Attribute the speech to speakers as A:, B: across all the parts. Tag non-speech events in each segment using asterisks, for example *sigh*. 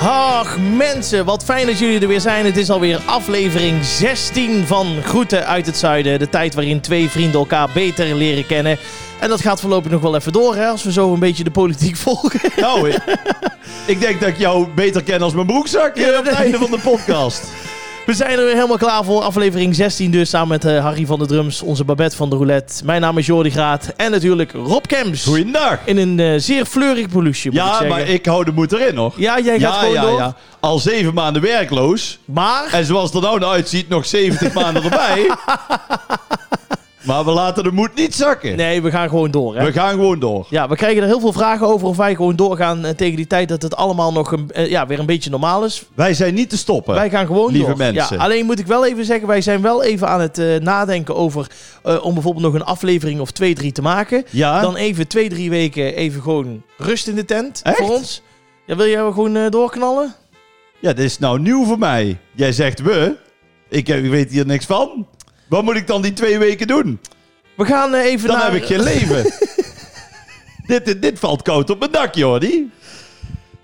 A: Ach mensen, wat fijn dat jullie er weer zijn. Het is alweer aflevering 16 van Groeten uit het Zuiden. De tijd waarin twee vrienden elkaar beter leren kennen. En dat gaat voorlopig nog wel even door, hè, als we zo een beetje de politiek *laughs* volgen.
B: Nou, ik, ik denk dat ik jou beter ken als mijn broekzak eh, op het
A: nee.
B: einde van de podcast.
A: We zijn er weer helemaal klaar voor. Aflevering 16 dus, samen met eh, Harry van de Drums, onze Babette van de Roulette. Mijn naam is Jordi Graat en natuurlijk Rob Kemps.
B: Goeiedag.
A: In een eh, zeer fleurig bloesje, moet ik
B: Ja,
A: zeggen.
B: maar ik hou de moed erin, hoor.
A: Ja, jij gaat gewoon door.
B: Al zeven maanden werkloos.
A: Maar...
B: En zoals het er nou naar uitziet, nog 70 *laughs* maanden erbij.
A: *laughs*
B: Maar we laten de moed niet zakken.
A: Nee, we gaan gewoon door, hè.
B: We gaan gewoon door.
A: Ja, we krijgen er heel veel vragen over of wij gewoon doorgaan eh, tegen die tijd dat het allemaal nog een, eh, ja, weer een beetje normaal is.
B: Wij zijn niet te stoppen.
A: Wij gaan gewoon
B: lieve
A: door.
B: mensen.
A: Ja, alleen moet ik wel even zeggen, wij zijn wel even aan het eh, nadenken over eh, om bijvoorbeeld nog een aflevering of twee, drie te maken.
B: Ja,
A: Dan even twee, drie weken even gewoon rust in de tent
B: Echt?
A: voor ons. Ja, wil jij wel gewoon eh, doorknallen?
B: ja, dit is nou nieuw voor mij. Jij zegt we. Ik, eh, weet hier niks van. Wat moet ik dan die twee weken doen?
A: We gaan eh, even
B: Dan
A: naar...
B: heb ik
A: *laughs*
B: geen leven. dit, dit, dit valt koud op mijn dak, Jordi.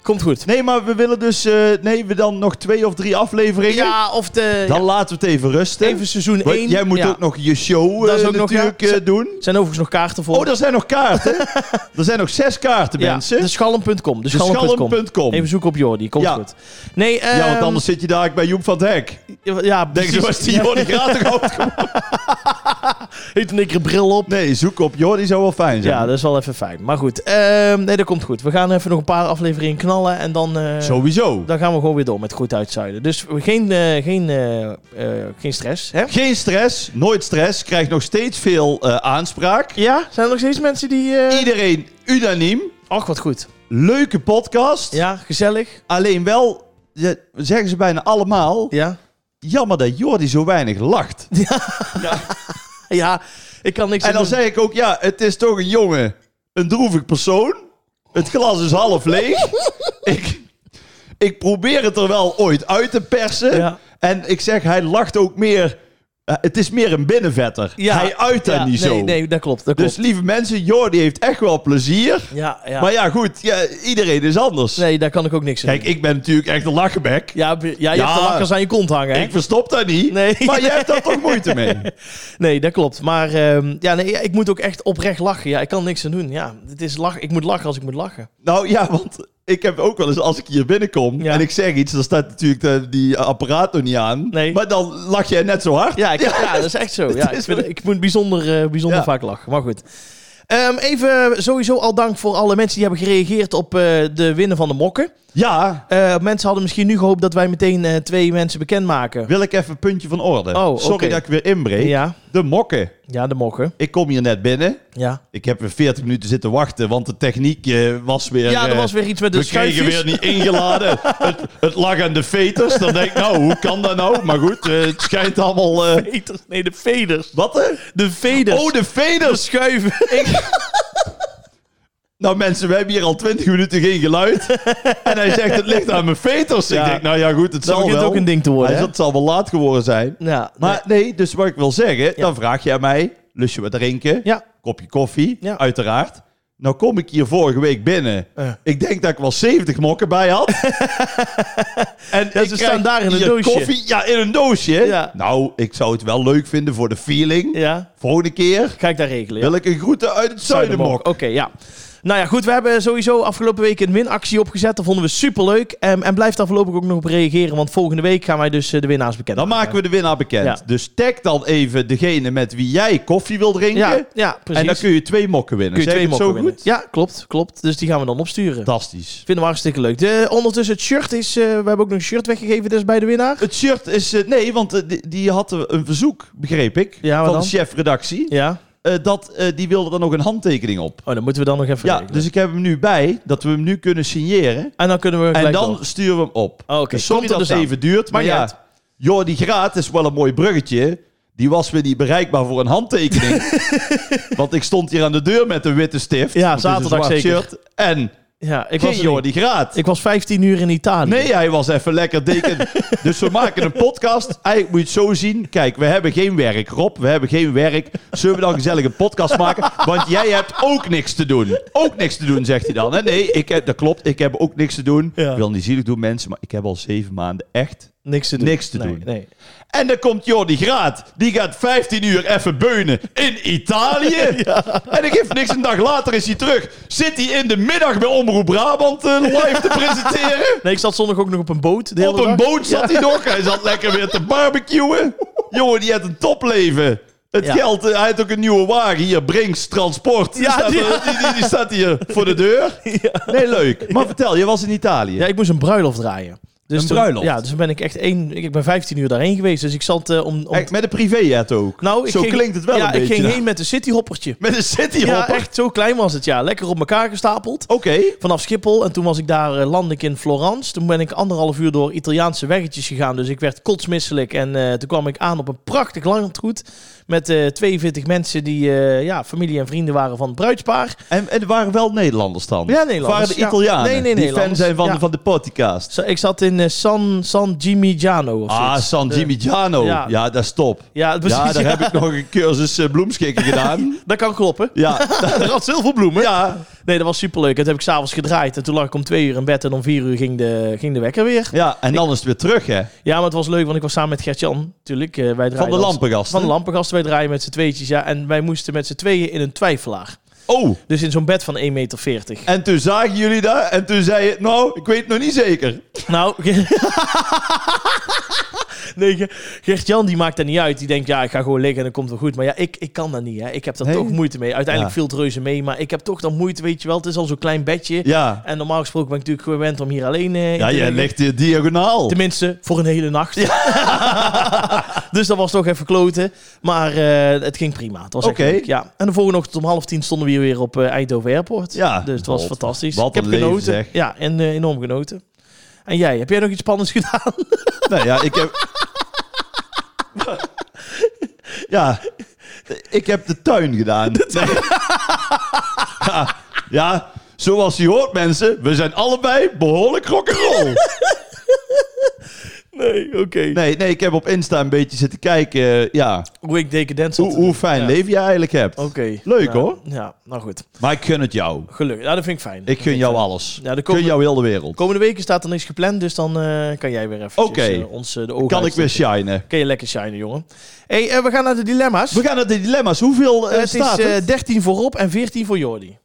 A: Komt goed.
B: Nee, maar we willen dus... eh, nee, we dan nog twee of drie afleveringen.
A: Ja, of de...
B: Dan
A: ja,
B: laten we het even rusten.
A: even seizoen
B: Want
A: 1.
B: Jij moet ook nog je show
A: Dat
B: eh,
A: is ook nog,
B: natuurlijk
A: ja.
B: eh, doen.
A: Er zijn overigens nog kaarten voor.
B: Oh, er zijn nog
A: *laughs*
B: kaarten. er zijn nog zes kaarten,
A: Ja,
B: mensen.
A: De
B: Dus
A: schalm.com. De schalm.com. Even zoeken op Jordi, komt
B: Ja.
A: goed. Nee, ehm,
B: Ja, want anders zit je daar bij Joep van het Hek.
A: Ja,
B: Denk je,
A: precies.
B: was die Jordi gratis
A: *laughs*
B: ook?
A: Heeft een dikke bril op.
B: Nee, zoek op Jordi zou wel fijn zijn.
A: Ja, dat is wel even fijn. Maar goed, ehm, nee, dat komt goed. We gaan even nog een paar afleveringen knallen en dan, eh,
B: Sowieso.
A: dan gaan we gewoon weer door met goed uitzuiden. Dus geen, eh, geen, eh, eh, geen stress, hè?
B: Geen stress, nooit stress. Krijgt nog steeds veel eh, aanspraak.
A: Ja, zijn er nog steeds mensen die... eh
B: Iedereen unaniem.
A: Ach, wat goed.
B: Leuke podcast.
A: Ja, gezellig.
B: Alleen wel, ja, zeggen ze bijna allemaal,
A: Ja.
B: jammer dat Jordi zo weinig lacht.
A: Ja, ik kan niks
B: En dan
A: doen.
B: zeg ik ook, ja, het is toch een jongen, een droevig persoon. Het glas is half
A: *laughs*
B: leeg. ik, ik probeer het er wel ooit uit te persen.
A: Ja.
B: En ik zeg, hij lacht ook meer. eh, het is meer een binnenvetter.
A: Ja.
B: Hij uit dat
A: Ja,
B: niet
A: nee,
B: zo.
A: Nee, dat klopt, dat
B: Dus
A: klopt.
B: lieve mensen, Jordi heeft echt wel plezier.
A: Ja, ja.
B: Maar ja, goed, ja, iedereen is anders.
A: Nee, daar kan ik ook niks aan
B: Kijk,
A: doen.
B: ik ben natuurlijk echt een lachenbek.
A: Ja, be- ja, je
B: Ja.
A: hebt de lakkers aan je kont hangen, hè?
B: Ik verstop dat niet.
A: Nee.
B: Maar jij hebt daar toch moeite mee.
A: *laughs* Nee, dat klopt. Maar ehm, ja, nee, ja, ik moet ook echt oprecht lachen. Ja, ik kan niks aan doen. Ja, het is lach. Ik moet lachen als ik moet lachen.
B: Nou ja, want ik heb ook wel eens als ik hier binnenkom
A: Ja.
B: en ik zeg iets, dan staat natuurlijk de- die apparaat nog niet aan.
A: Nee.
B: Maar dan lach jij net zo hard.
A: Ja, ik, ja. dat is
B: *laughs*
A: echt zo. Ja,
B: is
A: ik, vind-
B: wel-
A: ik moet bijzonder, eh, bijzonder
B: Ja.
A: vaak lachen. Maar goed. Ehm, even sowieso al dank voor alle mensen die hebben gereageerd op eh, de winnen van de mokken.
B: Ja,
A: Eh, mensen hadden misschien nu gehoopt dat wij meteen eh, twee mensen bekendmaken.
B: wil ik even een puntje van orde.
A: Oh,
B: Sorry
A: oké.
B: dat ik weer inbreek.
A: Ja,
B: De mokken.
A: ja, de mokken.
B: Ik kom hier net binnen.
A: Ja,
B: Ik heb weer 40 minuten zitten wachten, want de techniek eh, was weer...
A: ja er
B: eh,
A: was weer iets met de
B: we kregen
A: schuifjes. *laughs*
B: weer niet ingeladen. het, het lag aan de veters. Dan denk ik, nou, hoe kan dat nou? Maar goed, eh, het schijnt allemaal... eh,
A: Veters. Nee, de veders.
B: wat? hè?
A: De veders.
B: Oh, de veters!
A: schuiven.
B: Nou mensen, we hebben hier al 20 minuten geen geluid. en hij zegt, het ligt aan mijn veters.
A: Ja.
B: Ik denk, nou ja goed, het
A: Dan
B: zal
A: begint
B: wel.
A: ook een ding te worden.
B: hij
A: hè?
B: zegt, het zal wel laat geworden zijn.
A: Ja,
B: Maar nee, dus wat ik wil zeggen, dan vraag jij mij, lusje wat drinken,
A: Ja.
B: kopje koffie,
A: Ja.
B: uiteraard. Nou kom ik hier vorige week binnen.
A: Eh.
B: Ik denk dat ik wel 70 mokken bij
A: *laughs*
B: had. en
A: Ja, ze
B: ik krijg
A: staan daar in een
B: hier
A: doosje.
B: Koffie, ja, in een doosje.
A: Ja.
B: Nou, ik zou het wel leuk vinden voor de feeling.
A: ja.
B: Volgende keer
A: Ga ik daar regelen. Ja.
B: wil ik een groeten uit het zuiden
A: Zuidermok.
B: mok.
A: Oké, ja. Nou ja, goed. We hebben sowieso afgelopen week een winactie opgezet. Dat vonden we superleuk. Ehm, en blijf daar voorlopig ook nog op reageren. Want volgende week gaan wij dus eh, de winnaars bekend.
B: Dan maken we de winnaar bekend.
A: Ja.
B: Dus tag dan even degene met wie jij koffie wil drinken.
A: Ja, ja, precies.
B: en dan kun je twee mokken winnen.
A: Kun je
B: Zeg
A: twee
B: ik het
A: mokken
B: zo
A: winnen.
B: goed?
A: Ja, klopt, klopt. Dus die gaan we dan opsturen.
B: Fantastisch.
A: Vinden we hartstikke leuk. De, ondertussen het shirt is... eh, we hebben ook nog een shirt weggegeven dus bij de winnaar.
B: Het shirt is... eh, nee, want eh, die, die had een verzoek, begreep ik,
A: Ja, wat
B: van
A: dan?
B: de chef-redactie.
A: Ja.
B: eh, dat, eh, die wilde dan nog een handtekening op.
A: Oh, dan moeten we dan nog even
B: Ja,
A: regelen.
B: dus ik heb hem nu bij, dat we hem nu kunnen signeren.
A: En dan kunnen we
B: En
A: gelijk
B: dan
A: door.
B: sturen we hem op.
A: Oh, oké.
B: Dus
A: Komt
B: sorry
A: er
B: dat
A: dus
B: het
A: aan.
B: even duurt, maar
A: Maakt
B: ja.
A: niet
B: Jordi Graat is wel een mooi bruggetje. Die was weer niet bereikbaar voor een
A: *laughs*
B: handtekening. Want ik stond hier aan de deur met een witte stift.
A: Ja,
B: want het is een
A: zaterdag
B: zwart
A: zeker.
B: shirt. En
A: Ja, ik was,
B: Geen
A: er niet.
B: Jordi Graat.
A: ik was 15 uur in Italië.
B: Nee, hij was even lekker deken. dus we maken een podcast. Eigenlijk moet je het zo zien. Kijk, we hebben geen werk, Rob. We hebben geen werk. Zullen we dan gezellig een podcast maken? Want jij hebt ook niks te doen. Ook niks te doen, zegt hij dan. hè? Nee, ik heb, dat klopt. Ik heb ook niks te doen.
A: Ja.
B: Ik wil niet zielig doen, mensen. Maar ik heb al zeven maanden echt...
A: niks te doen.
B: Niks te
A: Nee,
B: doen.
A: Nee.
B: En dan komt Jordi Graat. Die gaat 15 uur even beunen in Italië. En ik geef niks. Een dag later is hij terug. Zit hij in de middag bij Omroep Brabant eh, live te presenteren.
A: Nee, ik zat zondag ook nog op een boot. De
B: Op
A: hele
B: een
A: dag.
B: boot zat hij nog. Hij zat lekker weer te barbecuen. Jongen, die had een topleven. Het
A: Ja.
B: geld, eh, hij had ook een nieuwe wagen hier, Brinks Transport. Die,
A: Ja,
B: staat,
A: die-
B: eh, die, die- die staat hier voor de deur.
A: *laughs*
B: Nee, leuk. Maar vertel, je was in Italië.
A: Ja, ik moest een bruiloft draaien. Dus
B: Een
A: toen-
B: bruiloft?
A: ja, dus toen ben ik echt één... Ik ben 15 uur daarheen geweest, dus ik zat eh, om... om
B: Echt, met een privéjet ook.
A: nou, ik
B: Zo
A: ging-
B: klinkt het wel
A: ja,
B: een beetje.
A: ik ging
B: nou.
A: heen met een cityhoppertje.
B: *laughs* Met een
A: Ja,
B: cityhopper.
A: echt zo klein was het, ja. Lekker op elkaar gestapeld.
B: Oké.
A: Vanaf Schiphol. En toen was ik daar, eh, landde ik in Florence. Toen ben ik anderhalf uur door Italiaanse weggetjes gegaan. Dus ik werd kotsmisselijk. En eh, toen kwam ik aan op een prachtig landgoed. Met eh 42 mensen die eh, ja, familie en vrienden waren van het bruidspaar.
B: En, en er waren wel Nederlanders dan?
A: Ja, Nederlanders,
B: Waren de
A: ja.
B: Italianen?
A: Nee, nee,
B: die fan
A: Nederlanders.
B: zijn van,
A: Ja.
B: van de podcast.
A: Zo, ik zat in eh, San, San Gimignano of
B: Ah,
A: zoiets.
B: San
A: De-
B: Gimignano.
A: Ja.
B: Ja. dat is top.
A: Ja, precies.
B: ja,
A: Ja,
B: daar heb ik nog een cursus eh, bloemschikken
A: *laughs*
B: gedaan.
A: Dat kan kloppen.
B: Ja,
A: *laughs* Er had heel veel bloemen.
B: ja,
A: Nee, dat was superleuk. Dat heb ik s'avonds gedraaid. En toen lag ik om twee uur in bed. En om vier uur ging de, ging de wekker weer.
B: ja, en dan is het weer terug, hè?
A: Ja, maar het was leuk, want ik was samen met Gert-Jan. Natuurlijk, eh, wij draaien
B: Van de lampengasten.
A: Van de lampengasten. Wij draaien met z'n tweetjes, ja. En wij moesten met z'n tweeën in een twijfelaar.
B: Oh,
A: Dus in zo'n bed van 1,40 meter.
B: en toen zagen jullie dat en toen zei je, nou, ik weet het nog niet zeker.
A: Nou... *laughs* Nee, Ge- Gert-Jan die maakt dat niet uit. Die denkt, ja, ik ga gewoon liggen en dan komt het wel goed. Maar ja, ik, ik kan dat niet, hè. Ik heb daar
B: Nee?
A: toch moeite mee. Uiteindelijk
B: Ja.
A: viel het reuze mee, maar ik heb toch dan moeite, weet je wel. Het is al zo'n klein bedje.
B: Ja,
A: En normaal gesproken ben ik natuurlijk gewend om hier alleen eh, in
B: ja
A: te
B: je
A: liggen.
B: legt je diagonaal.
A: Tenminste, voor een hele nacht. *laughs* dus dat was toch even kloten. Maar eh, het ging prima. Het was echt
B: Oké.
A: leuk, ja. En de volgende ochtend om half tien stonden we hier weer op eh, Eindhoven Airport.
B: Ja,
A: dus het was
B: God,
A: fantastisch.
B: wat
A: ik heb
B: een leven,
A: genoten.
B: zeg.
A: Ja, en eh, enorm genoten. En jij, heb jij nog iets spannends *laughs* gedaan?
B: *laughs* Nou ja, ik heb... ja, ik heb de tuin gedaan. Nee. Ja, ja, zoals je hoort mensen, we zijn allebei behoorlijk
A: *laughs*
B: rock'n'roll.
A: Nee, oké.
B: Nee, nee, ik heb op Insta een beetje zitten kijken eh, ja,
A: Hoe ik decadent zat
B: hoe,
A: te doen.
B: hoe fijn
A: Ja.
B: leven je eigenlijk hebt.
A: Oké.
B: Leuk,
A: Nou,
B: hoor.
A: Ja, nou goed.
B: Maar ik gun het jou.
A: Gelukkig. Nou, dat vind ik fijn.
B: Ik gun jou alles.
A: Ja, de
B: Ik gun
A: komende,
B: jou heel de wereld.
A: komende weken staat er niks gepland, dus dan eh, kan jij weer even
B: Oké.
A: ons eh, de ogen
B: Kan ik weer
A: uitsteken.
B: shinen.
A: Kun je lekker shinen, jongen. hey, eh, we gaan naar de dilemma's.
B: We gaan naar de dilemma's. Hoeveel eh,
A: Eh, het
B: staat
A: is eh,
B: het?
A: 13 voor Rob en 14 voor Jordi.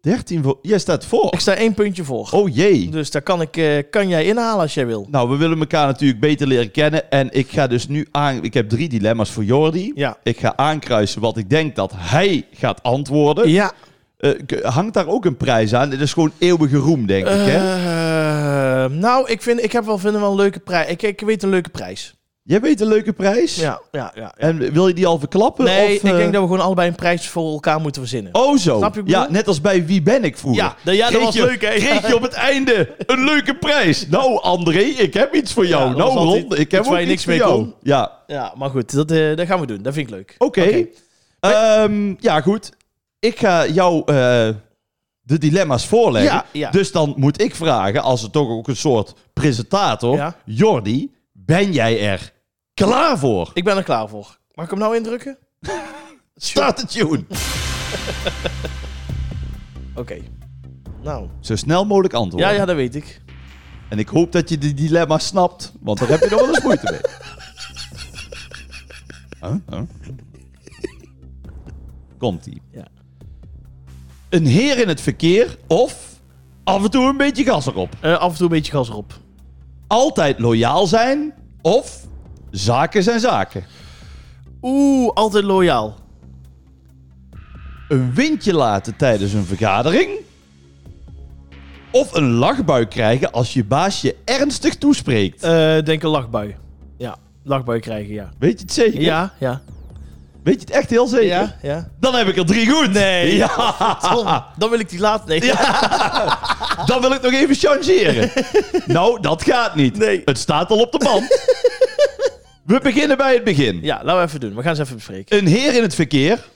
B: 13 voor... Jij staat
A: Ik
B: voor.
A: sta één puntje voor.
B: Oh jee.
A: Dus daar kan, ik, eh, kan jij inhalen als jij wil.
B: Nou, we willen elkaar natuurlijk beter leren kennen. En ik ga dus nu aan... Ik heb drie dilemma's voor Jordi.
A: Ja.
B: Ik ga aankruisen wat ik denk dat hij gaat antwoorden.
A: Ja.
B: Eh, k- hangt daar ook een prijs aan? Dit is gewoon eeuwige roem, denk ik, hè?
A: Eh, nou, ik, vind, ik heb wel, vind wel een leuke prijs. Ik, ik weet een leuke prijs.
B: Jij weet een leuke prijs?
A: Ja, ja, ja.
B: En wil je die al verklappen?
A: Nee,
B: of,
A: ik
B: eh,
A: denk dat we gewoon allebei een prijs voor elkaar moeten verzinnen.
B: Oh zo.
A: Snap je wat ik
B: ja,
A: bedoel?
B: net als bij Wie ben ik vroeger.
A: Ja, nou ja, dat
B: Kreeg
A: was
B: je-
A: leuk, hè?
B: Kreeg je op het einde een leuke prijs. Nou, André, ik heb iets voor jou.
A: Ja, dat
B: nou,
A: was altijd
B: Ron, ik heb
A: iets waar
B: ook
A: je
B: niks
A: niks
B: voor
A: mee
B: jou.
A: kon.
B: Ja,
A: Ja, maar goed, dat, eh, dat gaan we doen. Dat vind ik leuk.
B: oké. Ehm, ja, goed. Ik ga jou eh, de dilemma's voorleggen.
A: Ja, ja.
B: Dus dan moet ik vragen, als het toch ook een soort presentator...
A: Ja.
B: Jordi, ben jij er klaar voor?
A: Ik ben er klaar voor. Mag ik hem nou indrukken?
B: Start de tune.
A: Oké. Nou.
B: Zo snel mogelijk antwoorden.
A: Ja, ja, dat weet ik.
B: En ik hoop dat je de dilemma snapt, want daar heb je nog wel eens moeite mee. Huh? Huh? Komt-ie.
A: Ja.
B: Een heer in het verkeer of af en toe een beetje gas erop.
A: Eh, af en toe een beetje gas erop.
B: Altijd loyaal zijn of zaken zijn zaken.
A: Oeh, altijd loyaal.
B: Een windje laten tijdens een vergadering. Of een lachbuik krijgen als je baas je ernstig toespreekt.
A: Eh, denk een lachbui. Ja, lachbui krijgen, ja.
B: Weet je het zeker?
A: Ja, ja.
B: Weet je het echt heel zeker?
A: Ja, ja.
B: Dan heb ik er drie goed. Nee. Ja. *laughs*
A: Dan wil ik die laat. Nee.
B: Dan wil ik nog even
A: *laughs*
B: changeren. nou, dat gaat niet.
A: Nee.
B: Het staat al op de
A: *laughs*
B: band. we beginnen bij het begin.
A: *laughs* Ja, laten we even doen. We gaan ze even bespreken.
B: Een heer in het verkeer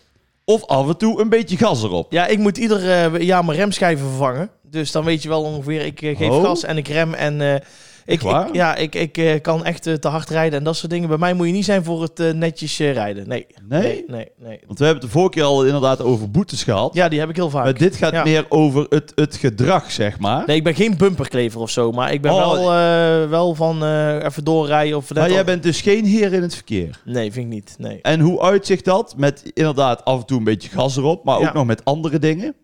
B: of af en toe een beetje gas erop.
A: Ja, ik moet ieder eh, jaar mijn remschijven vervangen. Dus dan weet je wel ongeveer, ik eh, geef
B: Oh.
A: gas en ik rem en... eh, ik,
B: waar?
A: ik- ja, ik, ik eh, kan echt eh, te hard rijden en dat soort dingen. Bij mij moet je niet zijn voor het eh, netjes eh, rijden. Nee.
B: Nee?
A: Nee, nee, nee.
B: Want we hebben het de vorige keer al inderdaad over boetes gehad.
A: Ja, die heb ik heel vaak.
B: Maar dit gaat
A: Ja.
B: meer over het, het gedrag, zeg maar.
A: Nee, ik ben geen bumperklever of zo, maar ik ben
B: Oh.
A: wel, eh, wel van eh, even doorrijden of net
B: maar jij
A: al-
B: bent dus geen heer in het verkeer.
A: Nee, vind ik niet. Nee.
B: En hoe uitzicht dat? Met inderdaad af en toe een beetje gas erop, maar ook
A: Ja.
B: nog met andere dingen.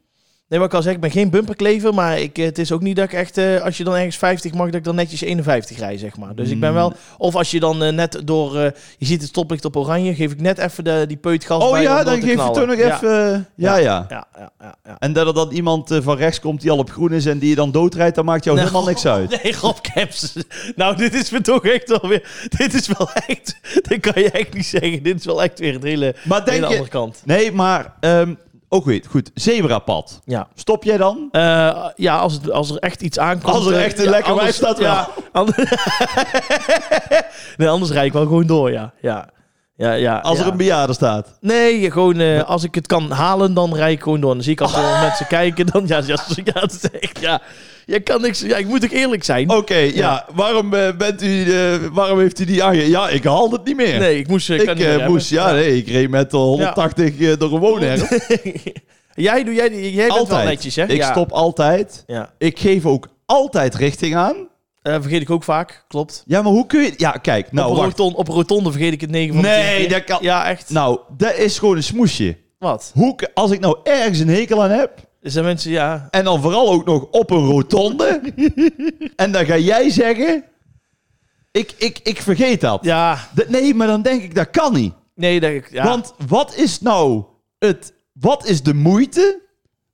A: Nee, wat ik al zeg, ik ben geen bumperklever, maar ik, eh, het is ook niet dat ik echt, eh, als je dan ergens 50 mag, dat ik dan netjes 51 rij, zeg maar. Dus ik
B: Hmm.
A: ben wel, of als je dan eh, net door, eh, je ziet het stoplicht op oranje, geef ik net even de, die peut gas
B: Oh
A: bij
B: ja,
A: om door
B: dan
A: te
B: geef je
A: knallen.
B: toch nog
A: Ja.
B: even... Ja, ja.
A: Ja, ja, ja, ja.
B: En dat er dan iemand eh, van rechts komt die al op groen is en die je dan doodrijdt, dat maakt jou
A: Nou,
B: Oh, helemaal niks uit.
A: Nee, Rob Kemps. Nou, dit is me toch echt alweer... Dit is wel echt... Dit kan je echt niet zeggen. Dit is wel echt weer het hele,
B: Maar
A: hele
B: denk je...
A: andere kant.
B: Nee, maar ehm, ook weet, goed, zebrapad.
A: Ja.
B: Stop jij dan?
A: Eh, ja, als, het, als er echt iets aankomt...
B: Als er
A: eh,
B: echt een
A: ja,
B: lekker
A: anders-
B: wijf staat, wel.
A: Ja, anders, *laughs* nee, anders rijd ik wel gewoon door, ja. Ja, ja, ja.
B: Als
A: ja.
B: er een bejaarde staat.
A: Nee, gewoon eh, als ik het kan halen, dan rijd ik gewoon door. Dan zie ik als er
B: *laughs*
A: mensen kijken, dan... Ja, ja, ja, dat is echt... Ja, je kan niks... Ja, ik moet ook eerlijk zijn.
B: Oké, ja. Waarom, eh, bent u, eh, waarom heeft u die aange... Ja, ik haal het niet meer.
A: Nee, ik moest... eh,
B: ik
A: kan niet meer
B: eh,
A: remmen.
B: moest, ja, nee, ik reed met eh, 180 eh, door een
A: *laughs*
B: woonherf.
A: jij, doe, jij, jij bent
B: Altijd.
A: wel netjes, hè?
B: Ik
A: ja.
B: stop altijd.
A: Ja.
B: Ik geef ook altijd richting aan.
A: Eh, vergeet ik ook vaak, klopt.
B: Ja, maar hoe kun je... Ja, kijk, nou,
A: op, een
B: wacht.
A: rotonde, op een rotonde vergeet ik het 9 van de
B: Nee,
A: 10 keer.
B: dat kan-
A: Ja, echt.
B: Nou, dat is gewoon een smoesje.
A: Wat?
B: Hoe, k- als ik nou ergens een hekel aan heb...
A: Er zijn mensen, ja...
B: En dan vooral ook nog op een rotonde. en dan ga jij zeggen... Ik, ik, ik vergeet dat.
A: Ja,
B: Dat- Nee, maar dan denk ik, dat kan niet.
A: nee, dat ik... Ja.
B: Want wat is nou het... Wat is de moeite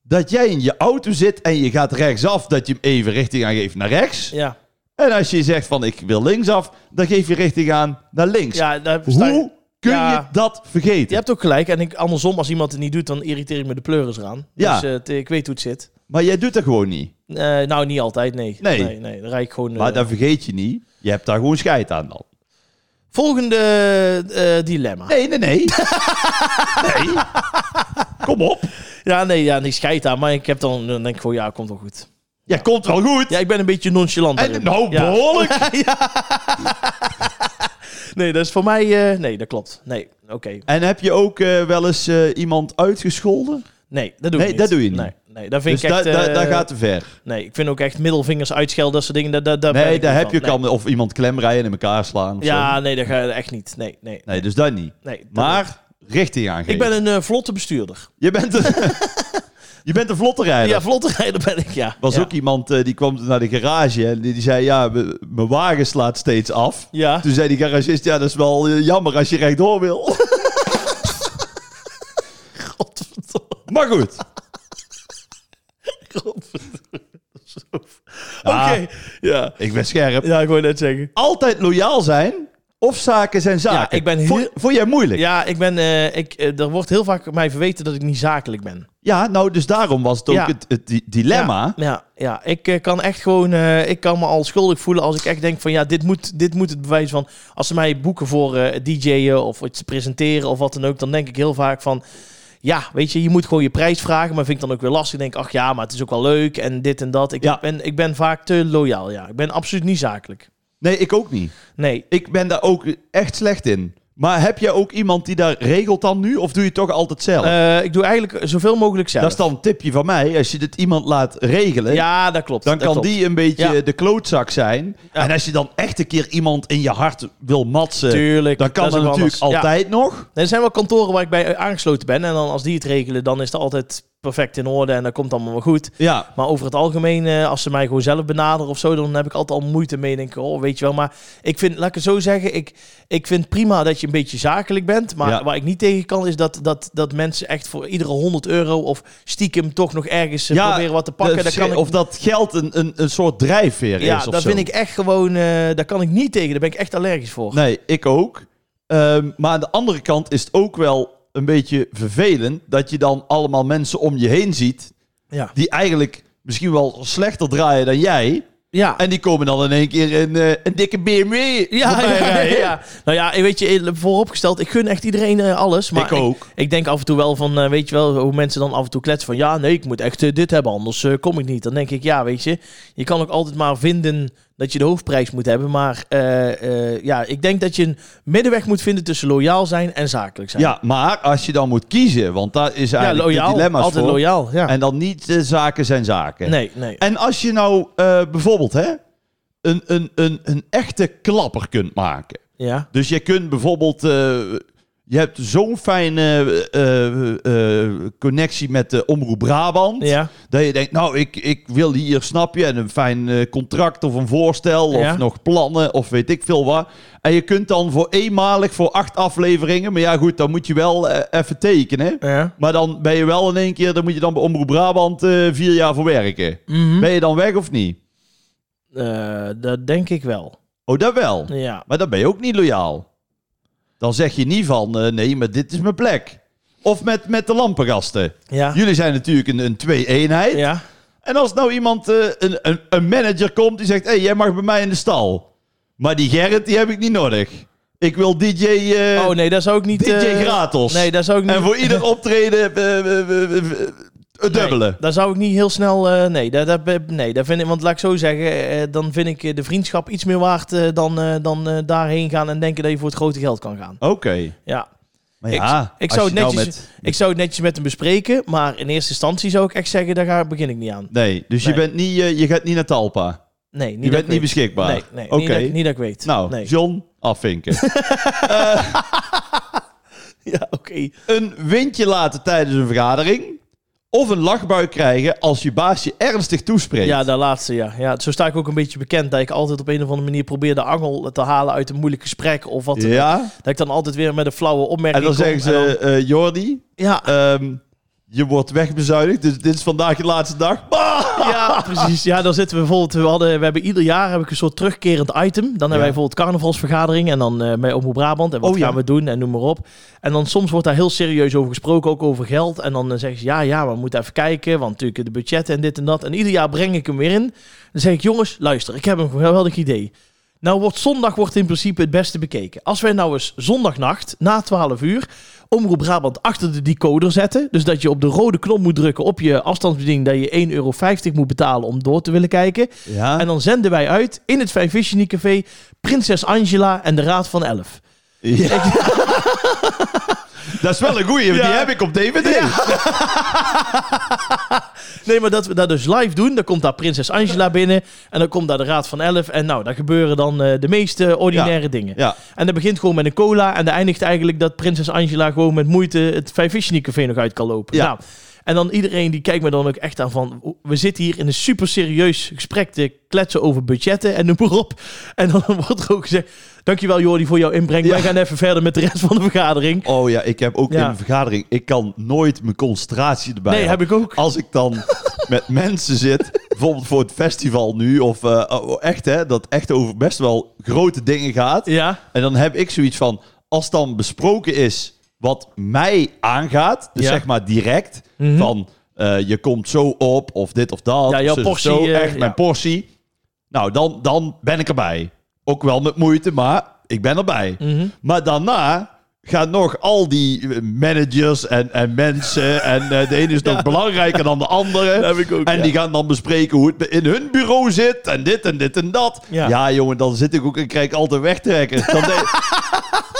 B: dat jij in je auto zit en je gaat rechtsaf... dat je hem even richting aangeeft naar rechts...
A: Ja,
B: En als je zegt van ik wil linksaf, dan geef je richting aan naar links.
A: ja daar versta je-
B: Hoe kun
A: Ja.
B: je dat
A: Je
B: vergeten?
A: hebt ook gelijk. En ik, andersom, als iemand het niet doet, dan irriteer ik me de pleuris eraan.
B: Ja.
A: Dus eh, het- ik weet hoe het zit.
B: Maar jij doet dat gewoon niet.
A: Eh, nou, niet altijd, nee.
B: Nee.
A: Nee, dan rijd ik gewoon... eh,
B: Maar dat vergeet je niet. Je hebt daar gewoon scheid aan dan.
A: Volgende eh, dilemma.
B: Nee,
A: *laughs*
B: nee, nee. nee. Kom op.
A: Ja, nee, ja, nee, scheid aan. Maar ik heb dan, dan denk ik gewoon, ja, komt wel goed.
B: Ja, komt wel goed.
A: Ja, ik ben een beetje nonchalant
B: en,
A: daarin.
B: nou,
A: Ja. *laughs*
B: behoorlijk.
A: Nee, dat is voor mij... eh, nee, dat klopt. Nee, oké.
B: En heb je ook eh, wel eens eh, iemand uitgescholden?
A: Nee, dat doe
B: Nee,
A: ik niet.
B: dat doe je niet.
A: Nee, nee dat vind
B: dus
A: ik echt...
B: dat da,
A: eh,
B: dat gaat te ver.
A: Nee, ik vind ook echt middelvingers uitschelden, dat soort dingen. Dat, dat, dat ben
B: nee,
A: ik
B: daar
A: niet
B: heb
A: van.
B: je kan. Of iemand klemrijden en in elkaar slaan. Of
A: Nee. Ja,
B: zo.
A: nee, dat ga echt niet. Nee, nee.
B: Nee, dus dat niet.
A: nee dat niet.
B: Maar richting aangeven.
A: Ik ben een eh, vlotte bestuurder.
B: Je bent een, *laughs* je bent een vlotte rijder.
A: Ja, vlotte rijder ben ik, ja.
B: was
A: ja.
B: ook iemand eh, die kwam naar de garage en die, die zei: Ja, m- mijn wagen slaat steeds af.
A: Ja. *laughs*
B: Toen zei die garagist: Ja, dat is wel eh, jammer als je rechtdoor wil.
A: Godverdomme.
B: maar goed.
A: Godverdomme. Zo.
B: Ah.
A: Oké, ja.
B: Ik ben scherp.
A: Ja, ik wou net zeggen.
B: Altijd loyaal zijn of zaken zijn zaken.
A: ik ben heel-
B: Vond, vond jij moeilijk? Ja.
A: Ja, ik ben... eh, ik, eh, er wordt heel vaak mij verweten dat ik niet zakelijk ben.
B: nou, dus daarom was het ook
A: Ja.
B: het, het di- dilemma.
A: Ja, ja, ja. ik eh, kan echt gewoon, eh, ik kan me al schuldig voelen als ik echt denk van ja, dit moet, dit moet het bewijs van. Als ze mij boeken voor eh DJ'en of iets presenteren of wat dan ook, dan denk ik heel vaak van. Ja, weet je, je moet gewoon je prijs vragen, maar vind ik dan ook weer lastig. Ik denk, ach ja, maar het is ook wel leuk en dit en dat. Ik,
B: Ja.
A: ben, ik ben vaak te loyaal, ja. Ik ben absoluut niet zakelijk.
B: Nee, ik ook niet.
A: Nee,
B: Ik ben daar ook echt slecht in. Maar heb jij ook iemand die daar regelt dan nu? Of doe je het toch altijd zelf?
A: eh, ik doe eigenlijk zoveel mogelijk zelf.
B: dat is dan een tipje van mij. Als je dit iemand laat regelen,
A: ja, dat klopt.
B: Dan
A: dat
B: kan
A: klopt.
B: die een beetje
A: Ja.
B: de klootzak zijn.
A: Ja.
B: En als je dan echt een keer iemand in je hart wil matsen,
A: Tuurlijk,
B: eh, dan kan
A: dat
B: dat,
A: is ook
B: natuurlijk
A: anders. Ja.
B: altijd nog.
A: Er zijn wel kantoren waar ik bij aangesloten ben. En dan als die het regelen, dan is dat altijd perfect in orde. En dat komt allemaal wel goed.
B: Ja.
A: Maar over het algemeen, eh, als ze mij gewoon zelf benaderen of zo, dan heb ik altijd al moeite mee. Denk ik, oh, weet je wel. Maar ik vind, laat ik het zo zeggen, ik, ik vind prima dat je een beetje zakelijk bent. Maar
B: Ja.
A: waar ik niet tegen kan, is dat, dat, dat mensen echt voor iedere 100 euro of stiekem toch nog ergens eh,
B: Ja,
A: proberen wat te pakken.
B: Dat
A: Dat
B: is-
A: kan ik,
B: Dus Of dat geld een, een, een soort drijfveer
A: ja,
B: is. Of
A: dat
B: zo.
A: vind ik echt gewoon, eh daar kan ik niet tegen. Daar ben ik echt allergisch voor.
B: Nee, ik ook. Ehm, maar aan de andere kant is het ook wel een beetje vervelend dat je dan allemaal mensen om je heen ziet
A: Ja.
B: die eigenlijk misschien wel slechter draaien dan jij.
A: Ja.
B: En die komen dan in één keer een, eh, een dikke BMW
A: Ja,
B: voorbij
A: ja,
B: rijden.
A: ja. Nou ja, weet je, vooropgesteld, ik gun echt iedereen eh, alles. Maar
B: Ik ook.
A: Ik, denk af en toe wel van, eh, weet je wel, hoe mensen dan af en toe kletsen van... Ja, nee, ik moet echt eh, dit hebben, anders eh, kom ik niet. Dan denk ik, ja, weet je, je kan ook altijd maar vinden dat je de hoofdprijs moet hebben. Maar eh, eh, ja, ik denk dat je een middenweg moet vinden tussen loyaal zijn en zakelijk zijn.
B: Ja, maar als je dan moet kiezen, want daar is
A: Ja,
B: eigenlijk
A: loyaal.
B: de dilemma's
A: altijd
B: voor.
A: loyaal, ja.
B: En dan niet eh, zaken zijn zaken.
A: nee, nee.
B: En als je nou eh, bijvoorbeeld hè, een, een, een, een echte klapper kunt maken.
A: ja.
B: Dus je kunt bijvoorbeeld. eh, je hebt zo'n fijne eh, eh, connectie met de Omroep Brabant.
A: Ja.
B: Dat je denkt, nou, ik, ik wil hier, snap je, en een fijn eh, contract of een voorstel of
A: Ja.
B: nog plannen of weet ik veel wat. En je kunt dan voor eenmalig voor acht afleveringen, maar ja goed, dan moet je wel eh, even tekenen.
A: Ja.
B: Maar dan ben je wel in één keer, dan moet je dan bij Omroep Brabant eh, vier jaar voor werken.
A: Mhm.
B: Ben je dan weg of niet?
A: Eh, dat denk ik wel.
B: Oh, dat wel.
A: Ja.
B: Maar dan ben je ook niet loyaal. Dan zeg je niet van, eh, nee, maar dit is mijn plek. Of met, met de lampengasten.
A: Ja.
B: Jullie zijn natuurlijk een, een twee-eenheid.
A: Ja.
B: En als nou iemand, eh, een, een, een manager komt die zegt... hé, hey, jij mag bij mij in de stal. Maar die Gerrit, die heb ik niet nodig. Ik wil DJ, eh,
A: Oh nee, dat zou ik niet...
B: DJ
A: eh,
B: gratis.
A: Nee, dat zou ik niet...
B: En voor
A: *laughs*
B: ieder optreden eh, eh, eh, eh, eh, het dubbele.
A: Nee, daar zou ik niet heel snel. eh, nee, daar, daar, ben- nee, daar vind ik. Want laat ik zo zeggen, eh, dan vind ik eh, de vriendschap iets meer waard eh, dan, eh, dan eh, daarheen gaan en denken dat je voor het grote geld kan gaan.
B: Oké.
A: Ja.
B: Maar
A: Ik-
B: ja,
A: Ik,
B: als
A: zou
B: je
A: het
B: nou
A: netjes, ik zou het netjes met hem bespreken, maar in eerste instantie zou ik echt zeggen, daar ga, begin ik niet aan.
B: Nee, dus
A: Nee.
B: je, bent niet, eh, je gaat niet naar Talpa.
A: Nee, niet
B: Je
A: dat
B: bent
A: ik
B: niet
A: weet.
B: beschikbaar.
A: Nee, nee
B: Oké.
A: niet, dat, ik- niet dat ik weet.
B: Nou,
A: nee.
B: John,
A: *laughs*
B: afvinken.
A: ja, oké.
B: een windje laten tijdens een vergadering. Of een lachbui krijgen als je baas je ernstig toespreekt.
A: Ja, dat laatste, ja. ja. Zo sta ik ook een beetje bekend dat ik altijd op een of andere manier probeer de angel te halen uit een moeilijk gesprek of wat. dan ook.
B: Ja?
A: Dat ik dan altijd weer met een flauwe opmerking.
B: En dan
A: kom
B: zeggen
A: en dan-
B: ze, eh, Jordi,
A: ja,
B: ehm, je wordt wegbezuinigd, dus dit is vandaag je laatste dag. Ah! Bah!
A: Ja, precies. Ja, dan zitten we bijvoorbeeld... We, hadden, we hebben ieder jaar heb ik een soort terugkerend item. Dan hebben wij bijvoorbeeld carnavalsvergadering en dan eh met Omroep Brabant. En wat
B: Oh, ja.
A: gaan we doen en noem maar op. En dan soms wordt daar heel serieus over gesproken, ook over geld. En dan eh, zeggen ze, ja, ja, maar we moeten even kijken. Want natuurlijk de budgetten en dit en dat. En ieder jaar breng ik hem weer in. Dan zeg ik, jongens, luister, ik heb een geweldig idee. Nou, wordt zondag wordt in principe het beste bekeken. Als wij nou eens zondagnacht na 12 uur Omroep Brabant achter de decoder zetten. Dus dat je op de rode knop moet drukken op je afstandsbediening dat je 1,50 euro moet betalen om door te willen kijken.
B: Ja.
A: En dan zenden wij uit in het Vijfvisiony Café Prinses Angela en de Raad van Elf.
B: Ja. dat is wel een goeie, want die
A: Ja.
B: heb ik op DVD.
A: Nee, maar dat we dat dus live doen. Dan komt daar Prinses Angela binnen en dan komt daar de Raad van Elf. En nou, daar gebeuren dan eh, de meeste ordinaire dingen.
B: Ja.
A: En dat begint gewoon met een cola. En dat eindigt eigenlijk dat prinses Angela gewoon met moeite het Vijfvisionic Café nog uit kan lopen.
B: Ja.
A: Nou, en dan iedereen die kijkt me dan ook echt aan van... We zitten hier in een super serieus gesprek te kletsen over budgetten en noem maar op. En dan *laughs* wordt er ook gezegd... Dankjewel Jordi voor jouw inbreng. Wij
B: Ja.
A: gaan even verder met de rest van de vergadering.
B: Oh ja, ik heb ook
A: Ja.
B: in een vergadering, ik kan nooit mijn concentratie erbij
A: nee,
B: houden.
A: heb ik ook.
B: als ik dan met mensen zit, bijvoorbeeld voor het festival nu, of eh, oh, echt hè, dat echt over best wel grote dingen gaat.
A: Ja,
B: En dan heb ik zoiets van, als dan besproken is wat mij aangaat, dus
A: Ja.
B: zeg maar direct,
A: Mhm.
B: van eh, je komt zo op, of dit of dat,
A: Ja, jouw
B: zus of
A: portie,
B: zo,
A: eh,
B: echt
A: ja.
B: mijn portie. Nou, dan, dan ben ik erbij. Ook wel met moeite, maar ik ben erbij.
A: Mhm.
B: Maar daarna gaan nog al die eh, managers en, en mensen. En eh, de ene is nog belangrijker dan de andere.
A: heb ik ook.
B: En die gaan dan bespreken hoe het in hun bureau zit. En dit en dit en dat.
A: Ja.
B: Ja, jongen, dan zit ik ook en krijg ik altijd wegtrekken. Dan denk,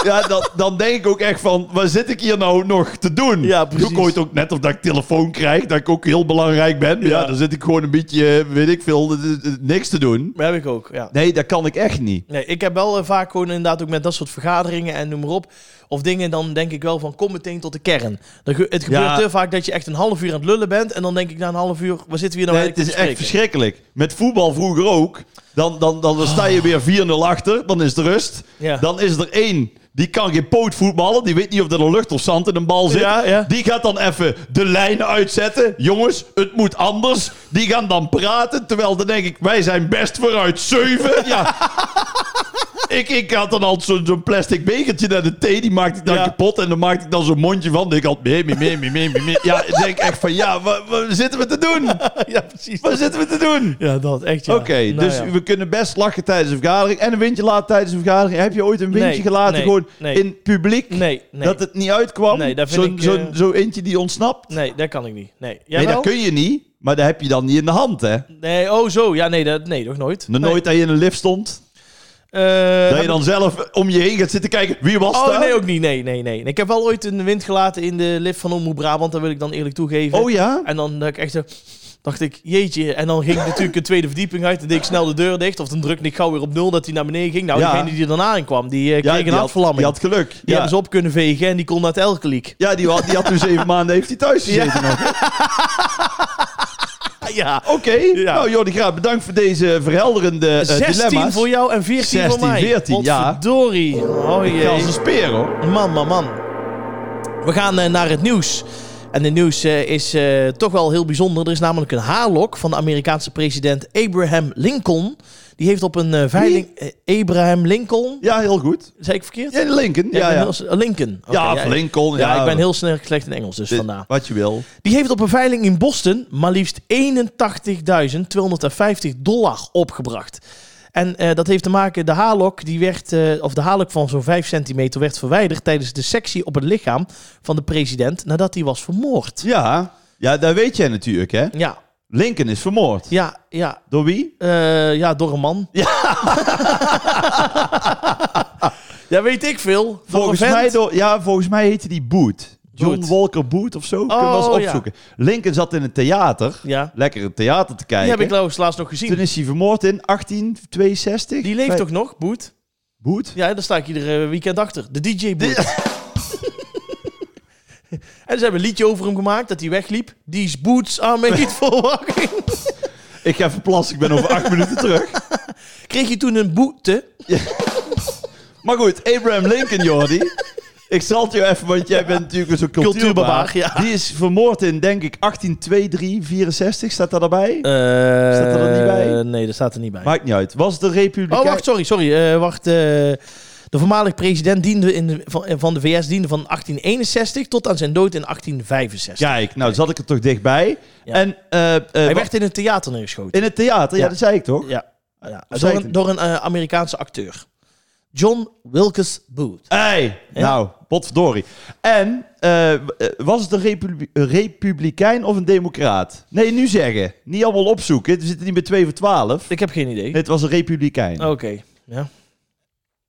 B: ja, dan, dan denk ik ook echt van, waar zit ik hier nou nog te doen?
A: Ja,
B: Doe
A: precies.
B: ik ooit ook net of dat ik telefoon krijg, dat ik ook heel belangrijk ben. Maar Ja,
A: Ja.
B: dan zit ik gewoon een beetje, eh, weet ik veel, eh, eh, niks te doen.
A: heb ik ook, ja.
B: Nee, dat kan ik echt niet.
A: Nee, ik heb wel eh, vaak gewoon inderdaad ook met dat soort vergaderingen en noem maar op. Of dingen, dan denk ik wel van kom meteen tot de kern. Dan ge- het gebeurt
B: Ja.
A: te vaak dat je echt een half uur aan het lullen bent. En dan denk ik na een half uur, waar zitten we hier nou
B: Nee, het
A: eigenlijk
B: is
A: te
B: echt
A: bespreken?
B: verschrikkelijk. Met voetbal vroeger ook. Dan, dan, dan, dan sta je weer 4-0 achter. Dan is de rust.
A: Ah. Ja.
B: Dan is er één. Die kan geen poot voetballen. Die weet niet of er een lucht of zand in een bal zit.
A: Ja, ja.
B: Die gaat dan even de lijnen uitzetten. Jongens, het moet anders. Die
A: *laughs*
B: gaan dan praten. Terwijl dan denk ik, wij zijn best vooruit. Zeven. Ja. ik, ik had dan altijd zo- zo'n plastic bekertje naar de thee. Die maakte ik dan
A: Ja.
B: kapot. En dan maakte ik dan zo'n mondje van. Dan ik had mee, mee, mee, mee, mee, mee, mee. Ja, dan denk ik echt van, ja, wat, wat zitten we te doen?
A: ja, precies.
B: Wat zitten we te doen?
A: Ja, dat echt ja.
B: Oké,
A: Nou
B: dus
A: ja.
B: we kunnen best lachen tijdens een vergadering. En een windje laten tijdens een vergadering. Heb je ooit een windje
A: Nee,
B: gelaten
A: nee,
B: gewoon
A: nee.
B: in het publiek?
A: Nee, nee.
B: Dat het niet uitkwam?
A: Nee, dat vind
B: Zo'n
A: ik,
B: zo'n
A: eh,
B: zo'n eentje die ontsnapt?
A: Nee, dat kan ik niet. Nee, Jij
B: nee,
A: wel?
B: dat kun je niet. Maar dat heb je dan niet in de hand, hè?
A: nee oh zo. Ja, nee, dat, nee nog nooit.
B: Nog
A: Nee.
B: nooit dat je in een lift stond.
A: Eh,
B: Dat je dan zelf om je heen gaat zitten kijken. Wie was
A: Oh
B: dat?
A: nee, ook niet. Nee, nee, nee. Ik heb wel ooit een wind gelaten in de lift van Omroep Brabant. Dat wil ik dan eerlijk toegeven.
B: oh ja?
A: En dan dat ik echt zo, dacht ik, jeetje. En dan ging ik natuurlijk een tweede verdieping uit. En deed ik snel de deur dicht. Of dan drukte ik gauw weer op nul dat hij naar beneden ging. Nou,
B: Ja.
A: degene die er daarna in kwam, die eh, kreeg
B: die
A: een
B: had,
A: hartverlamming.
B: die
A: Die,
B: had geluk. ja.
A: hebben ze op kunnen vegen en die kon naar het Elkeliek.
B: Ja, die had, die had toen
A: *laughs*
B: zeven maanden heeft hij thuis gezeten nog. Ah,
A: Ja,
B: Oké,
A: *laughs* Ja.
B: nou Jordi Graaf, bedankt voor deze verhelderende eh,
A: 16
B: dilemma's.
A: voor jou en 14 voor
B: 16,
A: mij.
B: 14, ja.
A: Potverdorie. Oh
B: Ik ga als
A: jee.
B: een speer hoor.
A: Man, man, man. We gaan eh, naar het nieuws. En het nieuws eh, is eh, toch wel heel bijzonder. Er is namelijk een haarlok van de Amerikaanse president Abraham Lincoln. Die heeft op een eh, veiling... eh, Abraham Lincoln?
B: Ja, heel goed.
A: Zei ik verkeerd?
B: Ja, Lincoln.
A: Ja, ik
B: Ja, ja.
A: ben heel s- eh, Lincoln. Oké,
B: ja, of Lincoln.
A: Ja,
B: Ja,
A: ik ben heel snel slecht in Engels dus
B: Dit-
A: vandaar.
B: Wat je wil.
A: Die heeft op een veiling in Boston maar liefst 81.250 dollar opgebracht. En eh, dat heeft te maken, de haarlok, die werd, eh, of de haarlok van zo'n 5 centimeter werd verwijderd tijdens de sectie op het lichaam van de president nadat hij was vermoord.
B: Ja. ja, dat weet jij natuurlijk hè.
A: Ja,
B: Lincoln is vermoord.
A: ja, ja,
B: Door wie?
A: eh, ja, door een man. Ja, *laughs* ja weet ik veel. Door
B: Volgens
A: een vent.
B: mij, door, ja, volgens mij heette die Boot. John
A: Boot.
B: Walker Boot of zo. Kunnen we
A: Oh,
B: wel eens
A: ja.
B: opzoeken. Lincoln zat in het theater.
A: Ja,
B: Lekker het theater te kijken.
A: die heb ik trouwens laatst nog
B: Toen
A: gezien.
B: is hij vermoord in 1862.
A: Die leeft
B: Bij-
A: toch nog, Boet?
B: Boet?
A: Ja, daar sta ik iedere weekend achter. De DJ Boet. *laughs* En ze hebben een liedje over hem gemaakt dat hij wegliep. Die is boots aan
B: *laughs*
A: me niet verwachting.
B: Ik ga even plassen, ik ben over acht *laughs* minuten terug.
A: Kreeg je toen een boete?
B: Maar goed, Abraham Lincoln, Jordi. Ik zal het je even, want jij bent natuurlijk zo'n cultuurbaar.
A: Cultuurbaar, ja.
B: Die is vermoord in, denk ik, 1863. Staat dat erbij?
A: staat
B: er dan niet bij?
A: Eh, Nee, dat staat er niet bij.
B: Maakt niet uit. Was het een republiek?
A: oh, wacht, sorry, sorry. eh, wacht, eh, de voormalig president diende in de- van, eh, van de VS diende van 1861 tot aan zijn dood in 1865.
B: Kijk, nou zat ik er toch dichtbij.
A: Ja.
B: En eh, eh,
A: Hij
B: wa-
A: werd in een theater neergeschoten.
B: in het theater, ja,
A: Ja.
B: dat zei ik toch?
A: Ja. ja.
B: Of zei
A: Door
B: ik
A: een,
B: het?
A: door een eh, Amerikaanse acteur. John Wilkes Booth.
B: Hey, nou, potverdorie. En eh, w- eh, was het een republi- een republikein of een democraat? Nee, nu zeggen. Niet allemaal opzoeken. We zitten niet bij 2 voor 12.
A: Ik heb geen idee.
B: Nee, het was een republikein.
A: Oké.
B: Oh,
A: Ja.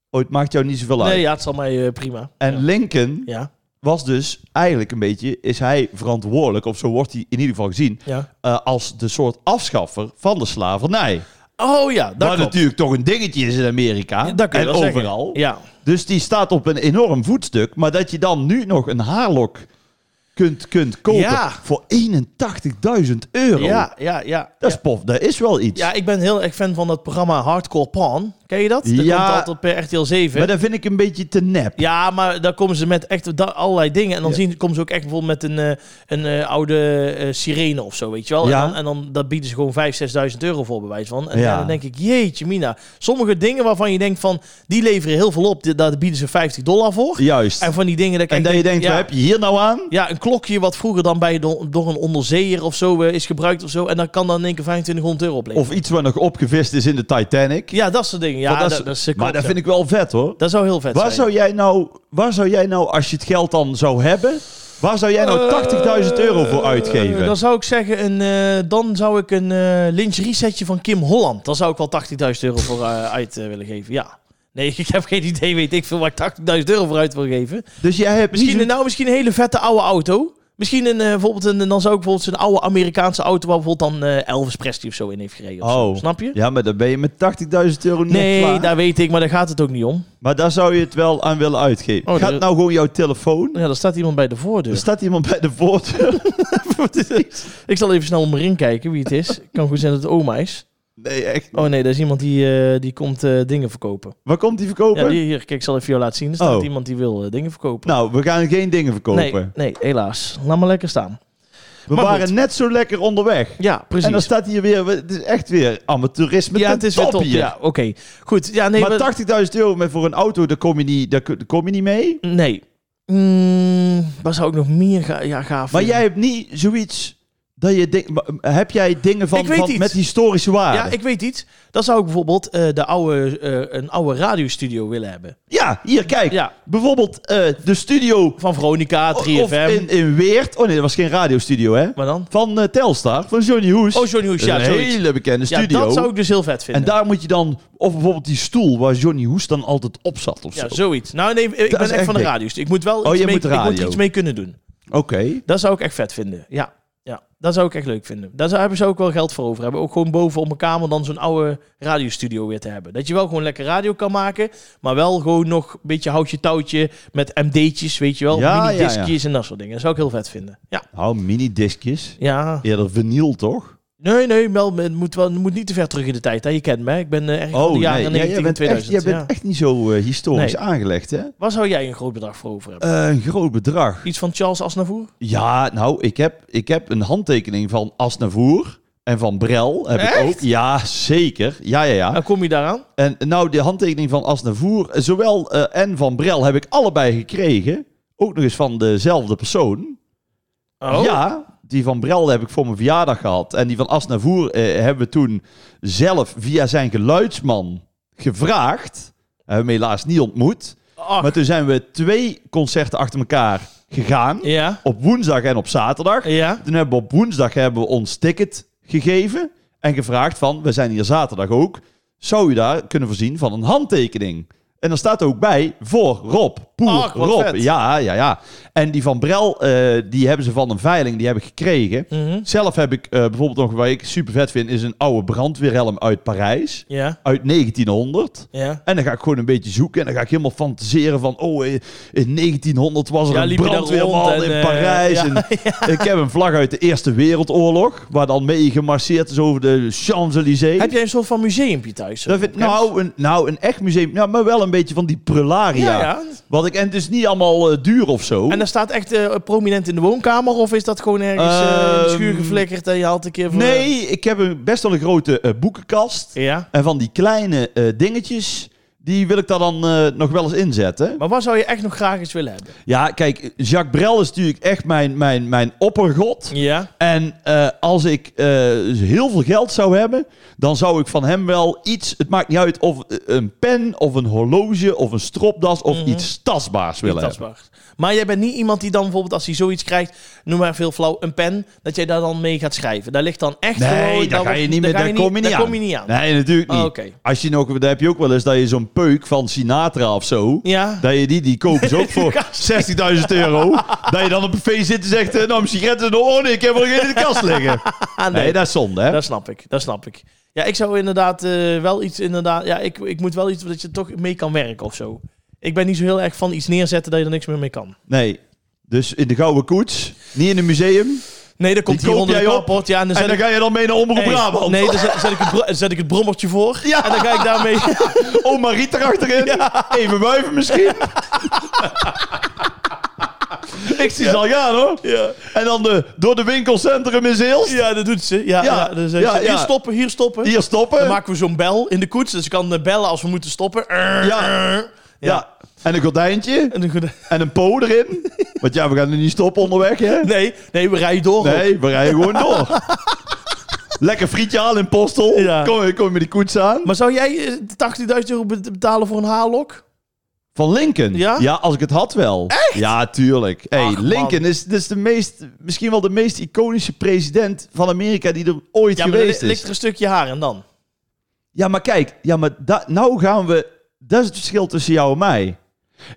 B: het maakt jou niet zoveel uit.
A: Nee, ja, het zal mij eh, prima.
B: En
A: Ja.
B: Lincoln
A: Ja,
B: was dus eigenlijk een beetje, is hij verantwoordelijk, of zo wordt hij in ieder geval gezien,
A: ja.
B: eh, als de soort afschaffer van de slavernij.
A: Oh ja, dat
B: Wat
A: klopt.
B: natuurlijk toch een dingetje is in Amerika
A: Dat kun je
B: en
A: wel zeggen.
B: overal.
A: Ja.
B: Dus die staat op een enorm voetstuk, maar dat je dan nu nog een haarlok kunt, kunt kopen
A: Ja.
B: voor 81.000 euro.
A: ja, ja, ja.
B: Dat is pof, dat is wel iets.
A: Ja, ik ben heel erg fan van dat programma Hardcore Pawn. Ken je dat? Dat
B: Ja.
A: komt altijd per RTL 7.
B: maar dat vind ik een beetje te nep.
A: Ja, maar daar komen ze met echt da- allerlei dingen. En dan
B: Ja.
A: zien, komen ze ook echt bijvoorbeeld met een, eh, een eh, oude eh, sirene of zo, weet je wel.
B: Ja.
A: En, dan, en dan dat bieden ze gewoon 5.000, 6.000 euro voor, bewijs van. En,
B: Ja.
A: en dan denk ik, jeetje mina. Sommige dingen waarvan je denkt van, die leveren heel veel op. die- Daar bieden ze 50 dollar voor.
B: Juist. En,
A: En van die dingen dat ik echt
B: dat je denkt,
A: ja.
B: wat heb je hier nou aan?
A: Ja, een klokje wat vroeger dan bij do- door een onderzeeër of zo eh, is gebruikt of zo. En dan kan dan in één keer 2500 euro opleveren.
B: Of iets wat nog opgevist is in de Titanic.
A: ja, dat soort dingen. Ja,
B: Want
A: dat,
B: is-
A: dat, is, eh,
B: maar
A: klopt,
B: dat
A: ja.
B: vind ik wel vet hoor.
A: Dat zou heel vet
B: Waar
A: zijn.
B: zou, jij nou, waar zou jij nou, als je het geld dan zou hebben, waar zou jij nou 80.000 euro voor
A: Eh,
B: uitgeven?
A: dan zou ik zeggen, een, eh, dan zou ik een eh lingerie setje van Kim Holland. Daar zou ik wel 80.000 euro voor eh, uit eh, willen geven, ja. Nee, *laughs* ik heb geen idee, weet ik veel, waar ik 80.000 euro voor uit wil geven.
B: dus jij hebt
A: Misschien, een-
B: niet
A: nou, misschien een hele vette oude auto. Misschien een, eh, bijvoorbeeld een, dan zou ik bijvoorbeeld een oude Amerikaanse auto... waar bijvoorbeeld dan eh, Elvis Presley of zo in heeft gereden. of zo.
B: Oh.
A: Snap je?
B: zo- Ja, maar dan ben je met 80.000 euro niet
A: Nee,
B: klaar.
A: daar weet ik, maar daar gaat het ook niet om.
B: Maar daar zou je het wel aan willen uitgeven.
A: Oh,
B: Gaat
A: dat-
B: nou gewoon jouw telefoon?
A: Ja, daar staat iemand bij de
B: Er
A: voordeur.
B: staat iemand bij de
A: *laughs*
B: voordeur. Wat is dit?
A: Ik zal even snel om me heen kijken wie het is. kan goed zijn dat het oma is.
B: nee, echt.
A: Oh nee, dat is iemand die, eh, die komt eh, dingen verkopen.
B: Waar komt die verkopen?
A: Ja, die, hier, kijk, ik zal even jou laten zien. Er staat
B: Oh.
A: iemand die wil eh, dingen verkopen.
B: Nou, we gaan geen dingen verkopen.
A: Nee, nee, helaas. Laat maar lekker staan.
B: We
A: Maar
B: waren
A: goed.
B: net zo lekker onderweg.
A: Ja, precies.
B: En dan staat hier weer, het is echt weer amateurisme.
A: ja,
B: ten
A: het is weer
B: top
A: top.
B: hier.
A: Ja, oké. Goed. Ja, nee, we-
B: maar 80.000 euro met voor een auto, daar kom je niet, daar, kun- daar kom je niet mee.
A: Nee. Mm, waar zou ik nog meer ga ja, gaaf
B: Maar
A: vinden?
B: jij hebt niet zoiets dat je ding- maar, eh, heb jij dingen van,
A: Ik weet
B: van-
A: iets.
B: met historische waarde?
A: Ja, ik weet iets. Dan zou ik bijvoorbeeld eh, de oude, eh, een oude radiostudio willen hebben.
B: Ja, hier kijk.
A: Ja.
B: Bijvoorbeeld eh, de studio
A: Van Veronica, 3FM.
B: of in, in Weert. Oh nee, dat was geen radiostudio hè?
A: Maar dan?
B: Van eh, Telstar, van Johnny Hoes.
A: Oh, Johnny Hoes, ja,
B: Een
A: zoiets.
B: hele bekende
A: Ja,
B: studio.
A: dat zou ik dus heel vet
B: En
A: vinden.
B: daar moet je dan, of bijvoorbeeld die stoel waar Johnny Hoes dan altijd op zat of
A: ja,
B: zo.
A: zoiets. Nou nee, ik
B: Dat
A: ben
B: is
A: echt
B: echt
A: van de
B: dik.
A: radio's. Ik moet wel
B: Oh,
A: iets,
B: je
A: mee,
B: moet
A: ik moet
B: radio.
A: iets mee kunnen doen.
B: Oké.
A: Dat zou ik echt vet vinden. Ja, ja dat zou ik echt leuk vinden. Daar zou, hebben ze ook wel geld voor over hebben. Ook gewoon boven op mijn kamer dan zo'n oude radiostudio weer te hebben. Dat je wel gewoon lekker radio kan maken, maar wel gewoon nog een beetje houtje touwtje met MD'tjes, weet je wel.
B: Ja, ja,
A: mini discjes en dat soort dingen. Dat zou ik heel vet vinden. Ja.
B: Nou, mini-discjes.
A: Ja.
B: Eerder vinyl toch?
A: Nee, nee, wel, het moet, wel, het moet niet te ver terug in de tijd. Hè. Je kent mij. Ik ben eh, erg van de jaren
B: Oh, Ja,
A: 19
B: jij bent, echt,
A: 2000.
B: jij bent
A: ja.
B: echt niet zo eh, historisch
A: Nee.
B: aangelegd, hè?
A: Waar zou jij een groot bedrag voor over hebben?
B: Eh, een groot bedrag.
A: Iets van Charles Aznavour?
B: Ja, nou, ik heb, ik heb een handtekening van Asnavoer en van Brel. Heb ik
A: Echt?
B: ook. Ja, zeker. Ja, ja, ja.
A: Dan kom je daaraan.
B: En nou, de handtekening van Asnavoer, eh, zowel eh, en van Brel heb ik allebei gekregen. Ook nog eens van dezelfde persoon.
A: Oh,
B: Ja, die van Brel heb ik voor mijn verjaardag gehad. En die van Asnavoer eh, hebben we toen zelf via zijn geluidsman gevraagd. Hebben we hem helaas niet ontmoet.
A: Ach.
B: Maar toen zijn we twee concerten achter elkaar gegaan.
A: ja.
B: Op woensdag en op zaterdag.
A: Ja.
B: Toen hebben we op woensdag hebben we ons ticket gegeven. En gevraagd van, we zijn hier zaterdag ook. Zou je daar kunnen voorzien van een handtekening? En dan staat ook bij voor Rob. Poer
A: Ach, wat
B: Rob.
A: vet.
B: Ja, ja, ja. En die van Brel, eh, die hebben ze van een veiling, die heb ik gekregen.
A: Mhm.
B: Zelf heb ik eh, bijvoorbeeld nog, wat ik super vet vind, is een oude brandweerhelm uit Parijs.
A: Ja.
B: Uit 1900.
A: Ja.
B: En dan ga ik gewoon een beetje zoeken. En dan ga ik helemaal fantaseren van... Oh, eh, in 1900 was er
A: Ja,
B: een
A: liep je daar
B: brandweerman
A: rond en,
B: in
A: eh, *laughs*
B: Parijs.
A: ja,
B: en Ik heb een vlag uit de Eerste Wereldoorlog... waar dan mee gemarcheerd is over de Champs-Élysées.
A: Heb jij een soort van museumpje thuis?
B: Dat vind- nou, een, nou, een echt museum. Nou, maar wel een beetje van die prularia.
A: ja, ja.
B: Wat ik, en het is niet allemaal eh, duur of zo.
A: En daar staat echt eh, prominent in de woonkamer? Of is dat gewoon ergens eh, in de schuur
B: Ehm,
A: geflikkerd en je haalt een keer voor...
B: nee, ik heb een, best wel een grote eh, boekenkast.
A: Ja.
B: En van die kleine eh, dingetjes... die wil ik daar dan eh, nog wel eens inzetten.
A: Maar waar zou je echt nog graag eens willen hebben?
B: Ja, kijk, Jacques Brel is natuurlijk echt mijn, mijn, mijn oppergod.
A: Ja.
B: En eh, als ik eh, heel veel geld zou hebben, dan zou ik van hem wel iets, het maakt niet uit of eh, een pen of een horloge of een stropdas of
A: Mhm.
B: iets tastbaars willen hebben.
A: Tastbaar. Maar jij bent niet iemand die dan bijvoorbeeld als hij zoiets krijgt, noem maar veel flauw, een pen, dat jij daar dan mee gaat schrijven. Daar ligt dan echt gewoon-
B: Nee, daar ga
A: wordt-
B: je niet meer,
A: ga
B: daar kom je niet
A: daar
B: aan.
A: kom je niet aan.
B: Nee, natuurlijk niet.
A: Oh, oké.
B: Als je nog, daar heb je ook wel eens dat je zo'n peuk van Sinatra of zo,
A: Ja.
B: dat je die, die kopen ze ook
A: *laughs*
B: voor 60.000 euro, dat je dan op een feest zit en zegt, eh, nou, mijn sigaretten, zijn er- oh nee, ik heb er geen in de kast
A: *laughs*
B: liggen.
A: Ah,
B: Nee, dat is zonde, hè?
A: *laughs* Dat snap ik, dat snap ik. Ja, ik zou inderdaad eh, wel iets, inderdaad, ja, ik, ik moet wel iets dat je toch mee kan werken of zo. Ik ben niet zo heel erg van iets neerzetten dat je er niks meer mee kan.
B: Nee. Dus in de Gouden Koets, niet in een museum.
A: Nee, dan komt
B: Die
A: hier
B: koop
A: onder de
B: jij op
A: carport. Ja, en dan
B: en
A: zet
B: dan
A: ik,
B: ga je dan mee naar Omroep
A: Hey,
B: Brabant. *laughs*
A: Nee, dan zet, zet ik het, bro- zet ik het brommertje voor.
B: Ja.
A: En dan ga ik daarmee...
B: Oh, Marie
A: *laughs*
B: erachterin. Even wuiven misschien. Ik zie ze al gaan hoor. En dan de, door de winkelcentrum in Zeelst.
A: Ja, dat doet ze. *laughs* Ja,
B: *laughs* Ja.
A: ja. dan zegt
B: Ja,
A: ze,
B: ja.
A: Hier stoppen, hier stoppen.
B: Hier
A: Dan
B: stoppen.
A: maken we zo'n bel in de koets. Dus ze kan eh, bellen als we moeten stoppen. Ja.
B: Ja. ja. En een gordijntje.
A: En dan goed- *laughs*
B: En een po erin. Want ja, we gaan er niet stoppen onderweg hè.
A: Nee, nee, we rijden door. ook.
B: Nee, we rijden gewoon *laughs* door. Lekker frietje halen in Postel.
A: Ja.
B: Kom, kom je met die koets aan.
A: Maar zou jij eh, 80.000 euro be- betalen voor een haarlok?
B: Van Lincoln?
A: Ja?
B: als ik het had wel. Echt? Ja, tuurlijk. Hey,
A: Ach, man.
B: Lincoln is, is de meest, misschien wel de meest iconische president van Amerika die er ooit
A: Ja, maar dan
B: geweest
A: li-
B: is.
A: ligt er een stukje haar en dan.
B: Ja, maar kijk, ja, maar da- nou gaan we. Dat is het verschil tussen jou en mij.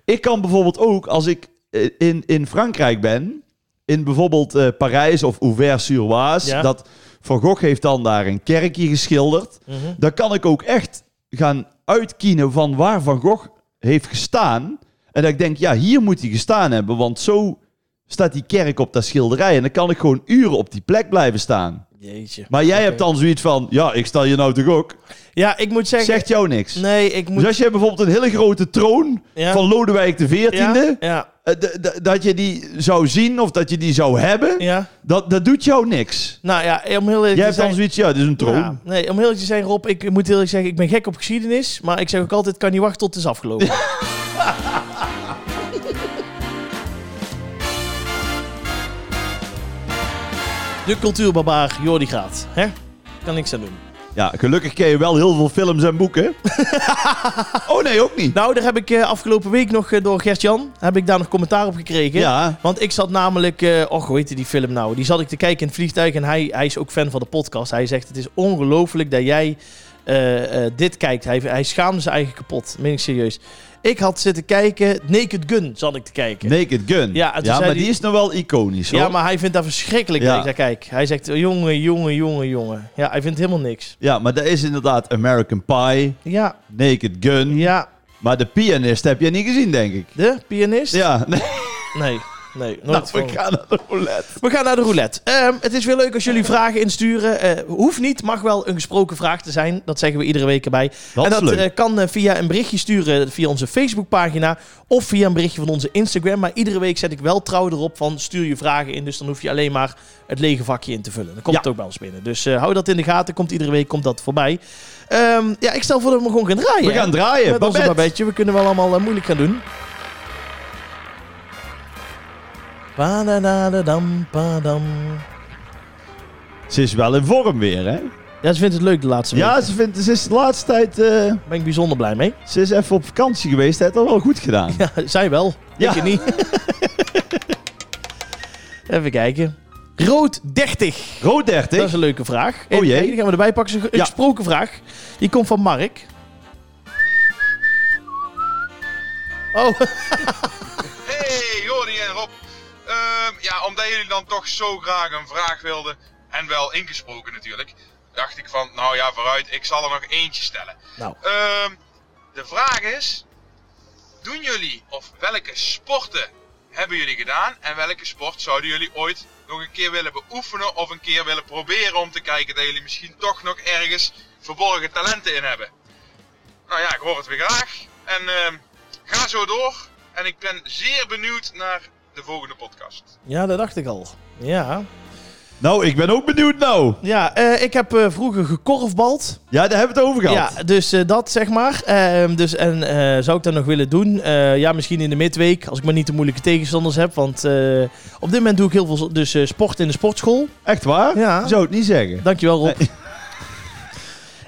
B: Ik kan bijvoorbeeld ook, als ik eh, in, in Frankrijk ben, in bijvoorbeeld eh, Parijs of Ouvert-sur-Oise,
A: Ja.
B: dat Van Gogh heeft dan daar een kerkje geschilderd.
A: Mhm.
B: Dan kan ik ook echt gaan uitkiezen van waar Van Gogh heeft gestaan. En dat ik denk, ja, hier moet hij gestaan hebben, want zo staat die kerk op dat schilderij. En dan kan ik gewoon uren op die plek blijven staan.
A: Jeetje.
B: Maar jij hebt dan zoiets van, ja, ik sta je nou toch ook.
A: Ja, ik moet zeggen...
B: Zegt jou niks.
A: Nee, ik moet...
B: Dus als je bijvoorbeeld een hele grote troon
A: Ja.
B: van Lodewijk de XIV,
A: ja, ja,
B: eh, d- d- dat je die zou zien of dat je die zou hebben,
A: ja.
B: dat, dat doet jou niks.
A: Nou ja, om heel eerlijk
B: Jij
A: te
B: hebt
A: zijn...
B: dan zoiets, ja, dit is een troon.
A: Ja, nee, om heel eerlijk te zijn, Rob, ik moet heel eerlijk zeggen, ik ben gek op geschiedenis. Maar ik zeg ook altijd, kan niet wachten tot het is
B: *laughs*
A: afgelopen. De cultuurbarbaar Jordi Graat. Hè? Kan niks aan doen.
B: Ja, gelukkig ken je wel heel veel films
A: *laughs*
B: en boeken. oh nee, ook niet.
A: Nou, daar heb ik eh, afgelopen week nog eh, door Gert-Jan, heb ik daar nog commentaar op gekregen.
B: Ja,
A: Want ik zat namelijk, eh och, hoe heette die film nou? Die zat ik te kijken in het vliegtuig en hij, hij is ook fan van de podcast. Hij zegt, het is ongelooflijk dat jij eh, eh, dit kijkt. Hij, hij schaamde zijn eigen kapot, meen ik serieus. Ik had zitten kijken, Naked Gun zat ik te kijken.
B: Naked Gun.
A: Ja, en toen zei
B: maar
A: die-
B: die is nou wel iconisch hoor.
A: ja, maar hij vindt dat verschrikkelijk
B: Ja.
A: dat ik daar kijk. Hij zegt, jongen, jongen, jongen, jongen. Ja, hij vindt helemaal niks.
B: Ja, maar dat is inderdaad American Pie,
A: Ja,
B: Naked Gun.
A: ja.
B: Maar de pianist heb jij niet gezien, denk ik.
A: De pianist?
B: Ja, nee,
A: Nee, nee. Nooit
B: nou,
A: van.
B: we gaan naar de roulette.
A: We gaan naar de roulette. Ehm, het is weer leuk als jullie vragen insturen. Eh, hoeft niet, mag wel een gesproken vraag te zijn. Dat zeggen we iedere week erbij.
B: Dat
A: en
B: is
A: dat
B: leuk.
A: eh, kan eh, via een berichtje sturen via onze Facebookpagina of via een berichtje van onze Instagram. Maar iedere week zet ik wel trouw erop van stuur je vragen in. Dus dan hoef je alleen maar het lege vakje in te vullen. Dan komt
B: Ja.
A: het ook bij ons binnen. Dus eh, hou dat in de gaten. Komt iedere week komt dat voorbij. Ehm, ja, ik stel voor dat we gewoon gaan draaien.
B: We gaan draaien.
A: Met onze
B: Babette.
A: Babetje. We kunnen wel allemaal eh, moeilijk gaan doen. Padadadadam, padam.
B: Ze is wel in vorm weer, hè?
A: Ja, ze vindt het leuk de laatste week.
B: Ja, ze, vindt, ze is de laatste tijd... eh,
A: Daar ben ik bijzonder blij mee.
B: ze is even op vakantie geweest. Hij heeft dat wel goed gedaan.
A: Ja, *laughs* zij wel.
B: Ja.
A: Ik niet. Even kijken. Rood 30.
B: *laughs* Rood
A: Dat
B: 30.
A: is een leuke vraag.
B: Oh jee.
A: Even kijken, Die gaan we erbij pakken. Een ge-
B: Ja.
A: gesproken vraag. Die komt van Mark. Oh,
C: Hey, Jordi en Rob. Ehm, ja, omdat jullie dan toch zo graag een vraag wilden, en wel ingesproken natuurlijk, dacht ik van, nou ja, vooruit, ik zal er nog eentje stellen.
A: *laughs* nou.
C: Ehm, de vraag is, doen jullie, of welke sporten hebben jullie gedaan, en welke sport zouden jullie ooit nog een keer willen beoefenen, of een keer willen proberen om te kijken dat jullie misschien toch nog ergens verborgen talenten in hebben? Nou ja, ik hoor het weer graag. En ehm, ga zo door. En ik ben zeer benieuwd naar de volgende podcast.
A: Ja, dat dacht ik al. Ja,
B: Nou, ik ben ook benieuwd nou.
A: ja eh, ik heb eh, vroeger gekorfbald.
B: Ja, daar hebben we het over gehad.
A: Ja, dus eh, dat zeg maar. Ehm, dus, en eh, zou ik dat nog willen doen? Eh, ja, misschien in de midweek, als ik maar niet de moeilijke tegenstanders heb. Want eh, op dit moment doe ik heel veel dus, eh, sport in de sportschool.
B: Echt waar?
A: Ja.
B: Ik zou het niet zeggen.
A: Dankjewel Rob. *laughs*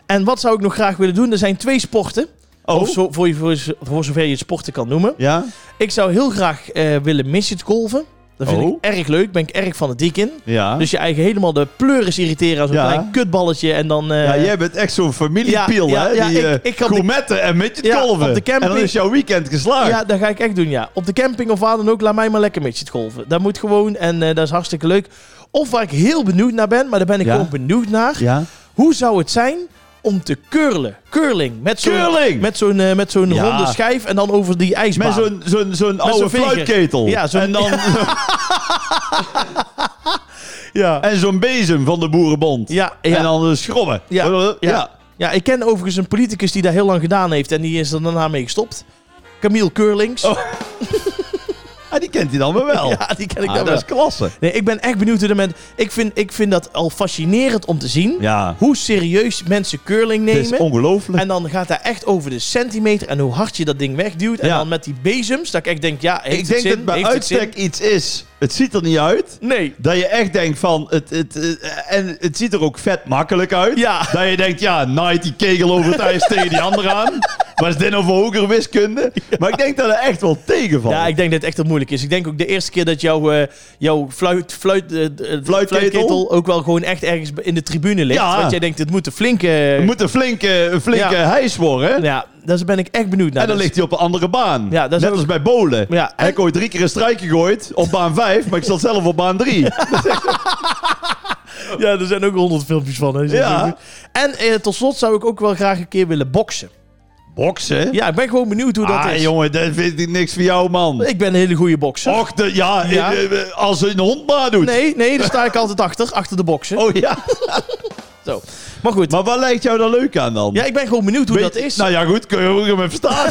A: En wat zou ik nog graag willen doen? Er zijn twee sporten.
B: Oh,
A: Of zo, voor, je, voor, je- voor zover je het sporten kan noemen.
B: ja?
A: Ik zou heel graag eh, willen missetgolven. Dat vind
B: Oh.
A: ik erg leuk. Ben ik erg van het dik in.
B: Ja.
A: Dus je eigen helemaal de pleuris irriteren als een
B: Ja.
A: klein kutballetje. En dan, eh,
B: ja, jij bent echt zo'n familiepiel,
A: ja,
B: hè?
A: ja,
B: die
A: ik-
B: eh
A: ik had de-
B: gourmetten en met je
A: Ja,
B: kolven.
A: op de
B: En
A: camping.
B: dan is jouw weekend geslaagd.
A: Ja, dat ga ik echt doen, ja. Op de camping of waar dan ook, laat mij maar lekker midget golven. Dat moet gewoon en eh, dat is hartstikke leuk. Of waar ik heel benieuwd naar ben, maar daar ben ik
B: Ja.
A: gewoon benieuwd naar.
B: Ja?
A: Hoe zou het zijn om te curlen? Curling. Met zo'n,
B: Curling!
A: Met zo'n, eh, met zo'n
B: Ja.
A: ronde schijf en dan over die ijsbaan.
B: Met zo'n zo'n zo'n oude
A: zo'n veger.
B: fluitketel.
A: *laughs* Ja, zo'n-
B: en, dan,
A: ja.
B: en zo'n bezem van de Boerenbond.
A: Ja, ja.
B: En dan eh, schrobben.
A: Ja,
B: ja.
A: ja, ik ken overigens een politicus die dat heel lang gedaan heeft en die is er daarna mee gestopt. Camille Curlings.
B: Oh. Ah, die kent hij dan weer wel.
A: Ja, die ken ik
B: Ah,
A: dan
B: dat
A: wel.
B: is klasse.
A: Nee, ik ben echt benieuwd hoe dat men... Ik vind, ik vind dat al fascinerend om te zien.
B: Ja,
A: Hoe serieus mensen curling
B: het
A: nemen.
B: is ongelooflijk.
A: En dan gaat hij echt over de centimeter en hoe hard je dat ding wegduwt. En
B: Ja.
A: dan met die bezems, dat ik echt denk, ja, heeft
B: Ik
A: het
B: denk
A: zin?
B: dat bij
A: Heeft het zin?
B: uitstek iets is. Het ziet er niet uit.
A: Nee.
B: Dat je echt denkt van, het, het, eh, en het ziet er ook vet makkelijk uit.
A: Ja.
B: Dat je denkt, ja, naait die kegel over het
A: *laughs*
B: ijs tegen die andere aan. Maar is dit nou voor hogere wiskunde? Maar ik denk dat het echt wel tegenvalt.
A: Ja, ik denk dat het echt heel moeilijk is. Ik denk ook de eerste keer dat jouw, eh, jouw fluit, fluit, eh, eh, fluitketel ook wel gewoon echt ergens in de tribune ligt.
B: Ja.
A: Want jij denkt, het moet een flinke...
B: Het moet een flinke, een flinke
A: Ja.
B: hijs worden.
A: Ja, daar ben ik echt benieuwd naar.
B: en dan
A: Dus-
B: ligt hij op een andere baan.
A: Ja, dat is
B: Net
A: ook-
B: als bij bolen.
A: Ja,
B: Hij
A: en-
B: heeft ooit drie keer een strijk gegooid op baan 5, maar ik zat zelf op baan 3.
A: *laughs* Ja, er zijn ook honderd filmpjes van. Hè.
B: Ja.
A: En eh, tot slot zou ik ook wel graag een keer willen boksen.
B: Boksen?
A: Ja, ik ben gewoon benieuwd hoe dat
B: ah,
A: is.
B: jongen, dat vind ik niks voor jou, man.
A: Ik ben een hele goede bokser.
B: Och, de- ja,
A: Ja.
B: eh, eh, als een hond maar doet.
A: Nee, nee, daar sta ik altijd achter. Achter de boksen.
B: Oh ja.
A: Zo. Maar goed.
B: Maar wat lijkt jou dan leuk aan dan?
A: ja, ik ben gewoon benieuwd hoe
B: Weet-
A: dat is.
B: Nou ja, goed, kun je ook
A: *laughs*
B: hem verstaan.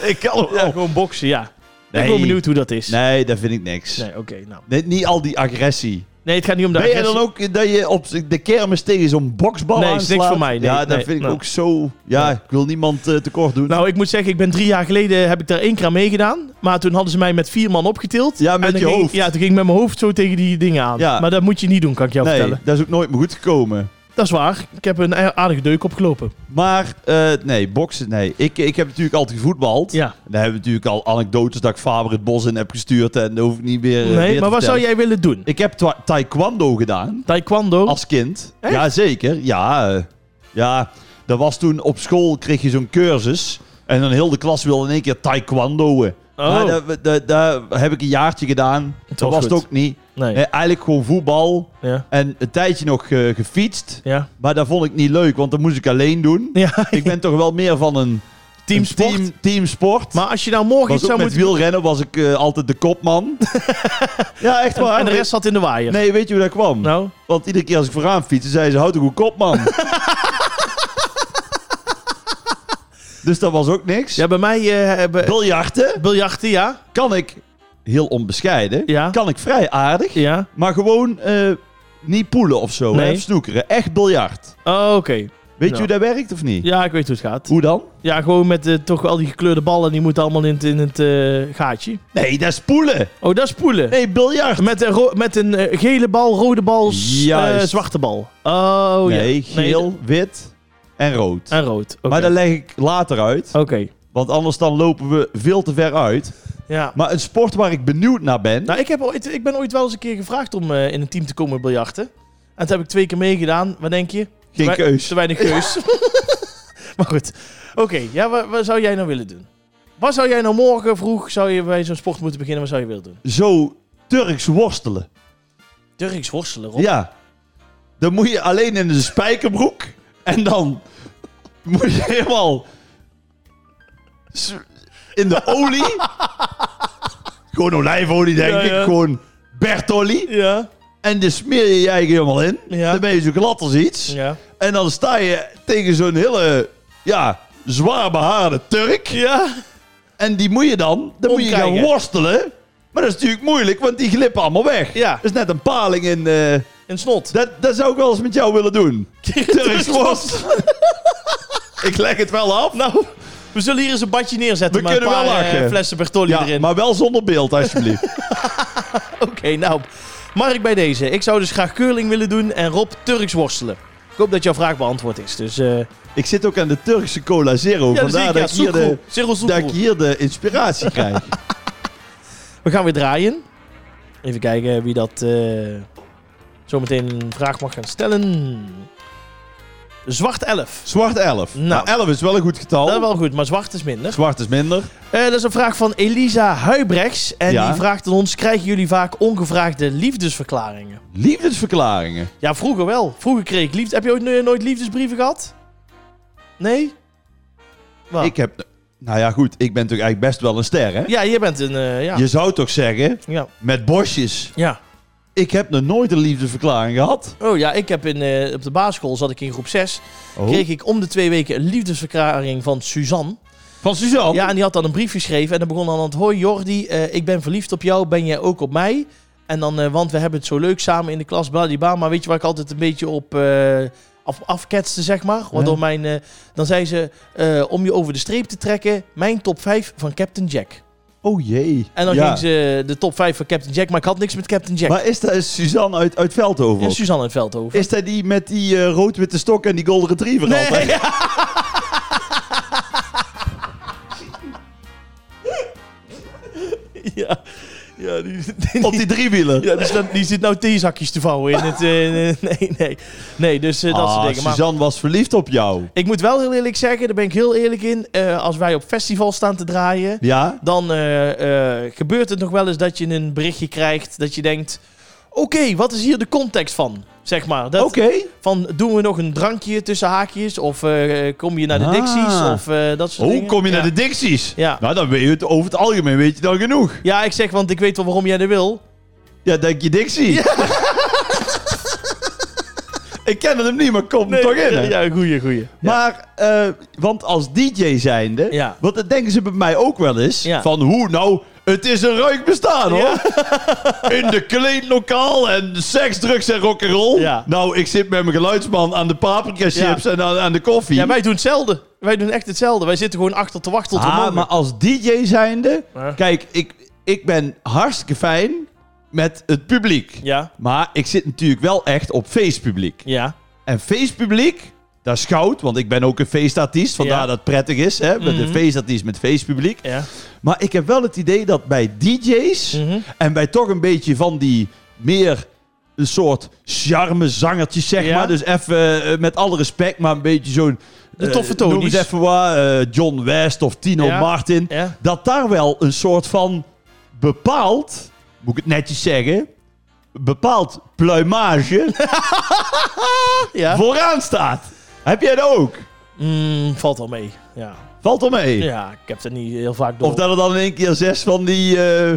B: ik kan hem
A: ja,
B: wel.
A: gewoon boksen, ja. Ik ben
B: Nee.
A: gewoon benieuwd hoe dat is.
B: Nee, dat vind ik niks.
A: Nee, oké, nou.
B: Nee, niet al die agressie.
A: Nee, het gaat niet om de
B: ben jij dan
A: agressie.
B: ook dat je op de kermis tegen zo'n boksbal
A: Nee, is niks
B: aanslaat?
A: voor mij, nee,
B: ja, dat
A: nee,
B: vind ik
A: nou.
B: ook zo... Ja, ik wil niemand eh, tekort doen.
A: Nou, ik moet zeggen, ik ben drie jaar geleden heb ik daar één keer aan meegedaan. Maar toen hadden ze mij met vier man opgetild.
B: Ja, met
A: En dan
B: je
A: ging-
B: hoofd.
A: Ja, toen ging ik met mijn hoofd zo tegen die dingen aan.
B: Ja.
A: Maar dat moet je niet doen, kan ik jou
B: nee,
A: vertellen.
B: dat is ook nooit meer goed gekomen.
A: Dat is waar. Ik heb een aardige deuk opgelopen.
B: Maar, eh, nee, boksen, nee. Ik, ik heb natuurlijk altijd gevoetbald.
A: Ja.
B: En daar hebben we natuurlijk al anekdotes dat ik Faber het bos in heb gestuurd. En dat hoef ik niet meer eh, weer
A: Nee,
B: te
A: maar wat zou jij
B: vertellen.
A: willen doen?
B: Ik heb twa- taekwondo gedaan.
A: Taekwondo?
B: Als kind?
A: Echt?
B: Jazeker, ja. eh, Ja, dat was toen op school kreeg je zo'n cursus. En dan heel de klas wilde in één keer taekwondoën.
A: Oh.
B: Maar Nou, dat, dat, dat heb ik een jaartje gedaan. dat
A: was
B: was het
A: goed.
B: ook niet.
A: Nee.
B: Eh, eigenlijk gewoon voetbal.
A: Ja.
B: En een tijdje nog eh, gefietst.
A: Ja.
B: Maar dat vond ik niet leuk, want dat moest ik alleen doen.
A: *laughs* ja.
B: Ik ben toch wel meer van een
A: Teamsport.
B: een team, teamsport.
A: Maar als je nou morgen
B: was
A: iets
B: ook
A: zou
B: met
A: moeten...
B: wielrennen was ik eh, altijd de
A: *laughs*
B: kopman. ja, echt waar.
A: En de rest zat in de waaier.
B: Nee, weet je hoe dat kwam?
A: Nou,
B: Want iedere keer als ik vooraan fietste, zei ze: houd toch goed kop,
A: *laughs*
B: man. dus dat was ook niks.
A: ja, bij mij eh, hebben...
B: Biljarten
A: biljarten, ja.
B: kan ik, heel onbescheiden,
A: Ja.
B: kan ik vrij aardig.
A: Ja.
B: Maar gewoon eh, niet poelen of zo.
A: Nee.
B: hè, Of snoekeren. Echt biljart.
A: Oh, oké.
B: Weet
A: Ja.
B: je hoe dat werkt of niet?
A: Ja, ik weet hoe het gaat.
B: Hoe dan?
A: Ja, gewoon met eh, toch al die gekleurde ballen. Die moeten allemaal in het, in het eh, gaatje.
B: Nee, dat is poelen.
A: Oh, dat is poelen.
B: Nee, biljart.
A: Met een, ro- met een eh, gele bal, rode bal, s-
B: Juist.
A: eh, zwarte bal. Oh, ja.
B: nee, geel,
A: Nee,
B: wit en rood.
A: en rood. Oké. Oh.
B: Maar dat leg ik later uit.
A: Oké.
B: Want anders dan lopen we veel te ver uit.
A: Ja.
B: Maar een sport waar ik benieuwd naar ben.
A: Nou, ik, heb ooit, ik ben ooit wel eens een keer gevraagd om eh, in een team te komen biljarten. En dat heb ik twee keer meegedaan. Wat denk je?
B: geen
A: Wij-
B: keus.
A: Te weinig keus. *laughs* maar goed. Oké, ja, wat, wat zou jij nou willen doen? Wat zou jij nou morgen vroeg, zou je bij zo'n sport moeten beginnen, wat zou je willen doen?
B: zo Turks worstelen.
A: Turks worstelen, Rob.
B: Ja. Dan moet je alleen in een spijkerbroek. En dan moet je helemaal s- in de olie. *laughs* Gewoon olijfolie, denk
A: Ja, ja.
B: ik. Gewoon Bertolli.
A: Ja.
B: En dan smeer je je eigen helemaal in.
A: Ja.
B: Dan ben je zo glad als iets.
A: Ja.
B: En dan sta je tegen zo'n hele, ja, zwaar behaarde Turk.
A: Ja.
B: En die moet je dan, dan moet je gaan
A: Omkijken.
B: worstelen. Maar dat is natuurlijk moeilijk, want die glippen allemaal weg.
A: Ja.
B: Dat is net een paling in... eh,
A: En snot.
B: dat, dat zou ik wel eens met jou willen
A: *laughs*
B: doen.
A: Dus
B: Turks worstelen. *laughs* ik leg het wel af. Nou,
A: We zullen hier eens een badje neerzetten
B: We
A: met een
B: kunnen
A: paar
B: wel
A: eh,
B: lachen.
A: flessen Bertolli
B: ja,
A: erin.
B: maar wel zonder beeld,
A: *laughs*
B: alsjeblieft.
A: Oké, nou. Mark bij deze. Ik zou dus graag curling willen doen en Rob Turks worstelen. Ik hoop dat jouw vraag beantwoord is. Dus, eh
B: ik zit ook aan de Turkse Cola Zero.
A: ja,
B: vandaar dat, ik hier eh, de,
A: Cyril
B: dat ik
A: Soekroe.
B: hier de
A: *laughs*
B: inspiratie krijg.
A: We gaan weer draaien. Even kijken wie dat eh, zometeen een vraag mag gaan stellen. Zwart 11.
B: Zwart 11.
A: Nou.
B: Nou, 11 is wel een goed getal.
A: Dat is wel goed, maar zwart is minder.
B: Zwart is minder.
A: Eh, dat is een vraag van Elisa Huibrechts. En
B: Ja.
A: die vraagt aan ons, krijgen jullie vaak ongevraagde liefdesverklaringen?
B: Liefdesverklaringen.
A: Ja, vroeger wel. Vroeger kreeg ik liefde. Heb je ooit, eh, nooit liefdesbrieven gehad? Nee? Wat?
B: Ik heb... Nou ja, goed. Ik ben natuurlijk eigenlijk best wel een ster, hè?
A: Ja, je bent een... eh, ja.
B: Je zou toch zeggen,
A: ja.
B: met bosjes.
A: Ja.
B: Ik heb nog nooit een liefdesverklaring gehad.
A: Oh ja, ik heb in, eh, op de basisschool, zat ik in groep 6,
B: Oh.
A: kreeg ik om de twee weken een liefdesverklaring van Suzanne.
B: Van Suzanne?
A: Ja, en die had dan een brief geschreven en dan begon dan aan het... Hoi Jordi, eh, ik ben verliefd op jou, ben jij ook op mij? En dan, eh, want we hebben het zo leuk samen in de klas, bladibla. Maar weet je waar ik altijd een beetje op eh, af, afketste, zeg maar? Waardoor mijn... eh, dan zei ze, eh, om je over de streep te trekken, mijn top 5 van Captain Jack.
B: Oh jee.
A: En dan
B: Ja.
A: ging ze de top 5 van Captain Jack, maar ik had niks met Captain Jack.
B: Maar is dat Suzanne uit, uit Veldhoven?
A: en
B: ook?
A: Suzanne in Veldhoven.
B: Is dat die met die eh, rood-witte stok en die golden retriever altijd?
A: *laughs*
B: *laughs*
A: ja. Ja, die,
B: Op die driewieler?
A: ja, die, staat- die zit nou theezakjes te vouwen in het... eh, nee, nee. Nee, dus eh, dat
B: Ah,
A: soort dingen. Maar
B: Suzanne was verliefd op jou.
A: ik moet wel heel eerlijk zeggen, daar ben ik heel eerlijk in. eh, als wij op festival staan te draaien,
B: Ja?
A: dan eh, eh, gebeurt het nog wel eens dat je een berichtje krijgt dat je denkt... Oké, wat is hier de context van? Zeg maar. Dat,
B: Oké.
A: Van doen we nog een drankje tussen haakjes? Of eh, kom je naar de
B: Ah.
A: Dixies? Of eh, dat soort
B: Hoe
A: dingen.
B: kom je
A: Ja.
B: naar de dicties?
A: Ja.
B: Nou, dan weet je het over het algemeen weet je dan genoeg.
A: Ja, ik zeg, want ik weet wel waarom jij dat wil.
B: Ja, denk je dictie. *laughs* ik ken hem niet, maar kom er toch in. hè?
A: Ja, goeie, goeie.
B: Maar, eh, want als DJ zijnde,
A: Ja.
B: want dat denken ze bij mij ook wel eens,
A: Ja.
B: van hoe nou, het is een ruik bestaan hoor. In de kleedlokaal en seks, drugs en rock'n'roll.
A: Ja.
B: Nou, ik zit met mijn geluidsman aan de paprika chips en aan, aan de koffie.
A: Ja, wij doen hetzelfde. Wij doen echt hetzelfde. Wij zitten gewoon achter te wachten tot we
B: ah,
A: mogen.
B: maar als DJ zijnde,
A: Ja.
B: kijk, ik, ik ben hartstikke fijn met het publiek.
A: Ja,
B: Maar ik zit natuurlijk wel echt op feestpubliek.
A: ja.
B: En feestpubliek, dat is goud, want ik ben ook een feestartiest. Vandaar
A: Ja. Mhm.
B: dat het prettig is, hè, met een feestartiest met feestpubliek.
A: Ja.
B: Maar ik heb wel het idee dat bij DJ's
A: Mhm.
B: en bij toch een beetje van die meer een soort charme zangertjes, zeg
A: Ja.
B: maar. Dus even eh, met alle respect, maar een beetje zo'n.
A: De
B: eh,
A: toffe
B: Noem
A: Tonies.
B: eens even wat, eh, John West of Tino
A: Ja.
B: Martin.
A: Ja.
B: Dat daar wel een soort van bepaald, moet ik het netjes zeggen, bepaald pluimage
A: *laughs* ja.
B: vooraan staat. Heb jij dat ook?
A: Mm, valt wel mee. Ja.
B: Valt al mee.
A: ja, ik heb dat niet heel vaak door.
B: Of dat er dan in één keer zes van die, eh,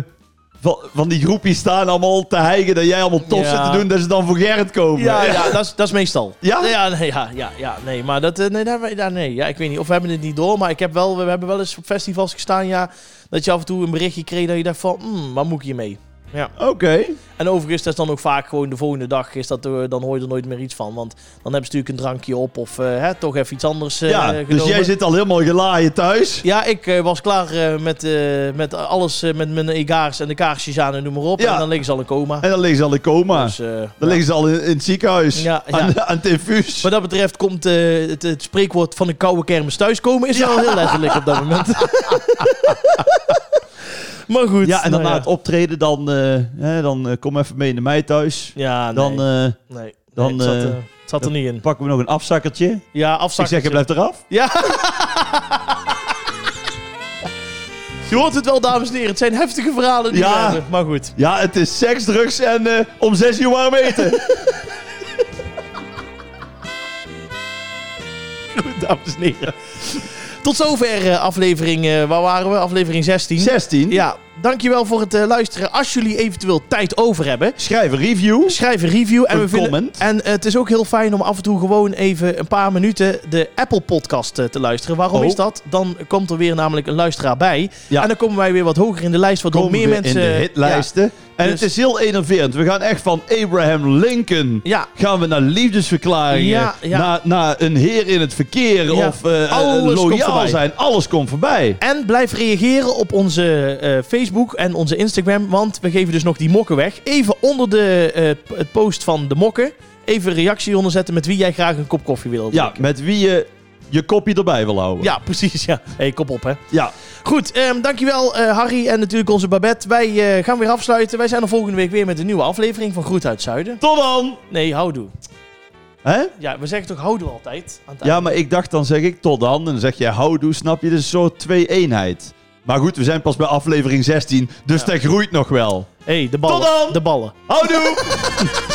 B: van, van die groepjes staan allemaal te hijgen dat jij allemaal tof
A: Ja.
B: zit te doen, dat ze dan voor Gerrit komen.
A: ja, ja dat, is, dat is meestal.
B: Ja?
A: Ja, nee, ja, ja, ja, nee. Maar dat, eh, nee, daar, hebben wij- daar, nee. Ja, ik weet niet. Of we hebben het niet door, maar ik heb wel, we hebben wel eens op festivals gestaan, ja, dat je af en toe een berichtje kreeg dat je dacht van, hmm, wat moet ik hiermee? Ja.
B: *laughs* Oké.
A: En overigens, dat is dan ook vaak gewoon de volgende dag, is dat, eh, dan hoor je er nooit meer iets van. Want dan hebben ze natuurlijk een drankje op of eh, hè, toch even iets anders eh,
B: ja,
A: genomen.
B: dus jij zit al helemaal gelaaien thuis.
A: Ja, ik eh, was klaar eh, met, eh, met alles, eh, met mijn egaars en de kaarsjes aan en noem maar op.
B: Ja.
A: En dan liggen ze al in coma.
B: En dan liggen ze al in coma.
A: Dus, eh,
B: dan
A: ja.
B: liggen ze al in, in het ziekenhuis.
A: Ja,
B: Aan,
A: ja.
B: aan het infuus.
A: Wat dat betreft komt eh, het, het spreekwoord van een koude kermis thuiskomen is wel heel letterlijk op dat moment. *laughs* maar goed.
B: ja, en dan
A: nou
B: na het optreden, dan, eh, hè, dan eh, kom even mee naar mij thuis.
A: Ja, nee.
B: Dan eh,
A: nee.
B: dan,
A: Nee, het, zat,
B: eh,
A: eh, het zat er niet in.
B: pakken we nog een afzakkertje.
A: Ja,
B: Ik zeg,
A: afzakken.
B: je blijft eraf.
A: Ja. Je hoort het wel, dames en heren. Het zijn heftige verhalen die
B: Ja.
A: we hebben. Maar goed. *laughs*
B: Ja, het is seks, drugs en eh, om zes uur warm eten.
A: *laughs*
B: Goed, dames en heren.
A: Tot zover eh, aflevering, eh, waar waren we? Aflevering 16.
B: 16.
A: Ja, dankjewel voor het eh, luisteren. Als jullie eventueel tijd over hebben,
B: Schrijf een review.
A: schrijf een review. En
B: Een
A: we vinden,
B: comment.
A: En eh, het is ook heel fijn om af en toe gewoon even een paar minuten de Apple podcast eh, te luisteren. Waarom
B: Oh.
A: is dat? Dan komt er weer namelijk een luisteraar bij.
B: Ja.
A: En dan komen wij weer wat hoger in de lijst, waardoor
B: Komen
A: meer
B: we
A: mensen...
B: in de hitlijsten. En
A: Dus-
B: het is heel enerverend. We gaan echt van Abraham Lincoln...
A: Ja.
B: gaan we naar liefdesverklaringen...
A: Ja, ja.
B: Naar, naar een heer in het verkeer...
A: Ja.
B: of eh, eh,
A: Alles komt
B: loyaal
A: voorbij.
B: zijn. Alles komt voorbij.
A: En blijf reageren op onze eh, Facebook en onze Instagram, want we geven dus nog die mokken weg. Even onder de eh, p- het post van de mokken, even een reactie onderzetten met wie jij graag een kop koffie wil
B: Ja,
A: drinken.
B: met wie je je kopje erbij wil houden.
A: Ja, precies. Ja. hey, kop op, hè.
B: ja.
A: Goed, ehm, dankjewel eh, Harry en natuurlijk onze Babette. Wij eh, gaan weer afsluiten. Wij zijn er volgende week weer met een nieuwe aflevering van Groet uit Zuiden.
B: Tot dan!
A: Nee, houdoe.
B: Hè?
A: Ja, we zeggen toch houdoe altijd? Aan het
B: Ja,
A: einde.
B: maar ik dacht, dan zeg ik tot dan. En dan zeg jij houdoe, snap je? Dit is zo'n twee-eenheid. Maar goed, we zijn pas bij aflevering 16, dus dat groeit nog wel.
A: hey, de ballen.
B: Tot dan!
A: De ballen.
B: Houdoe!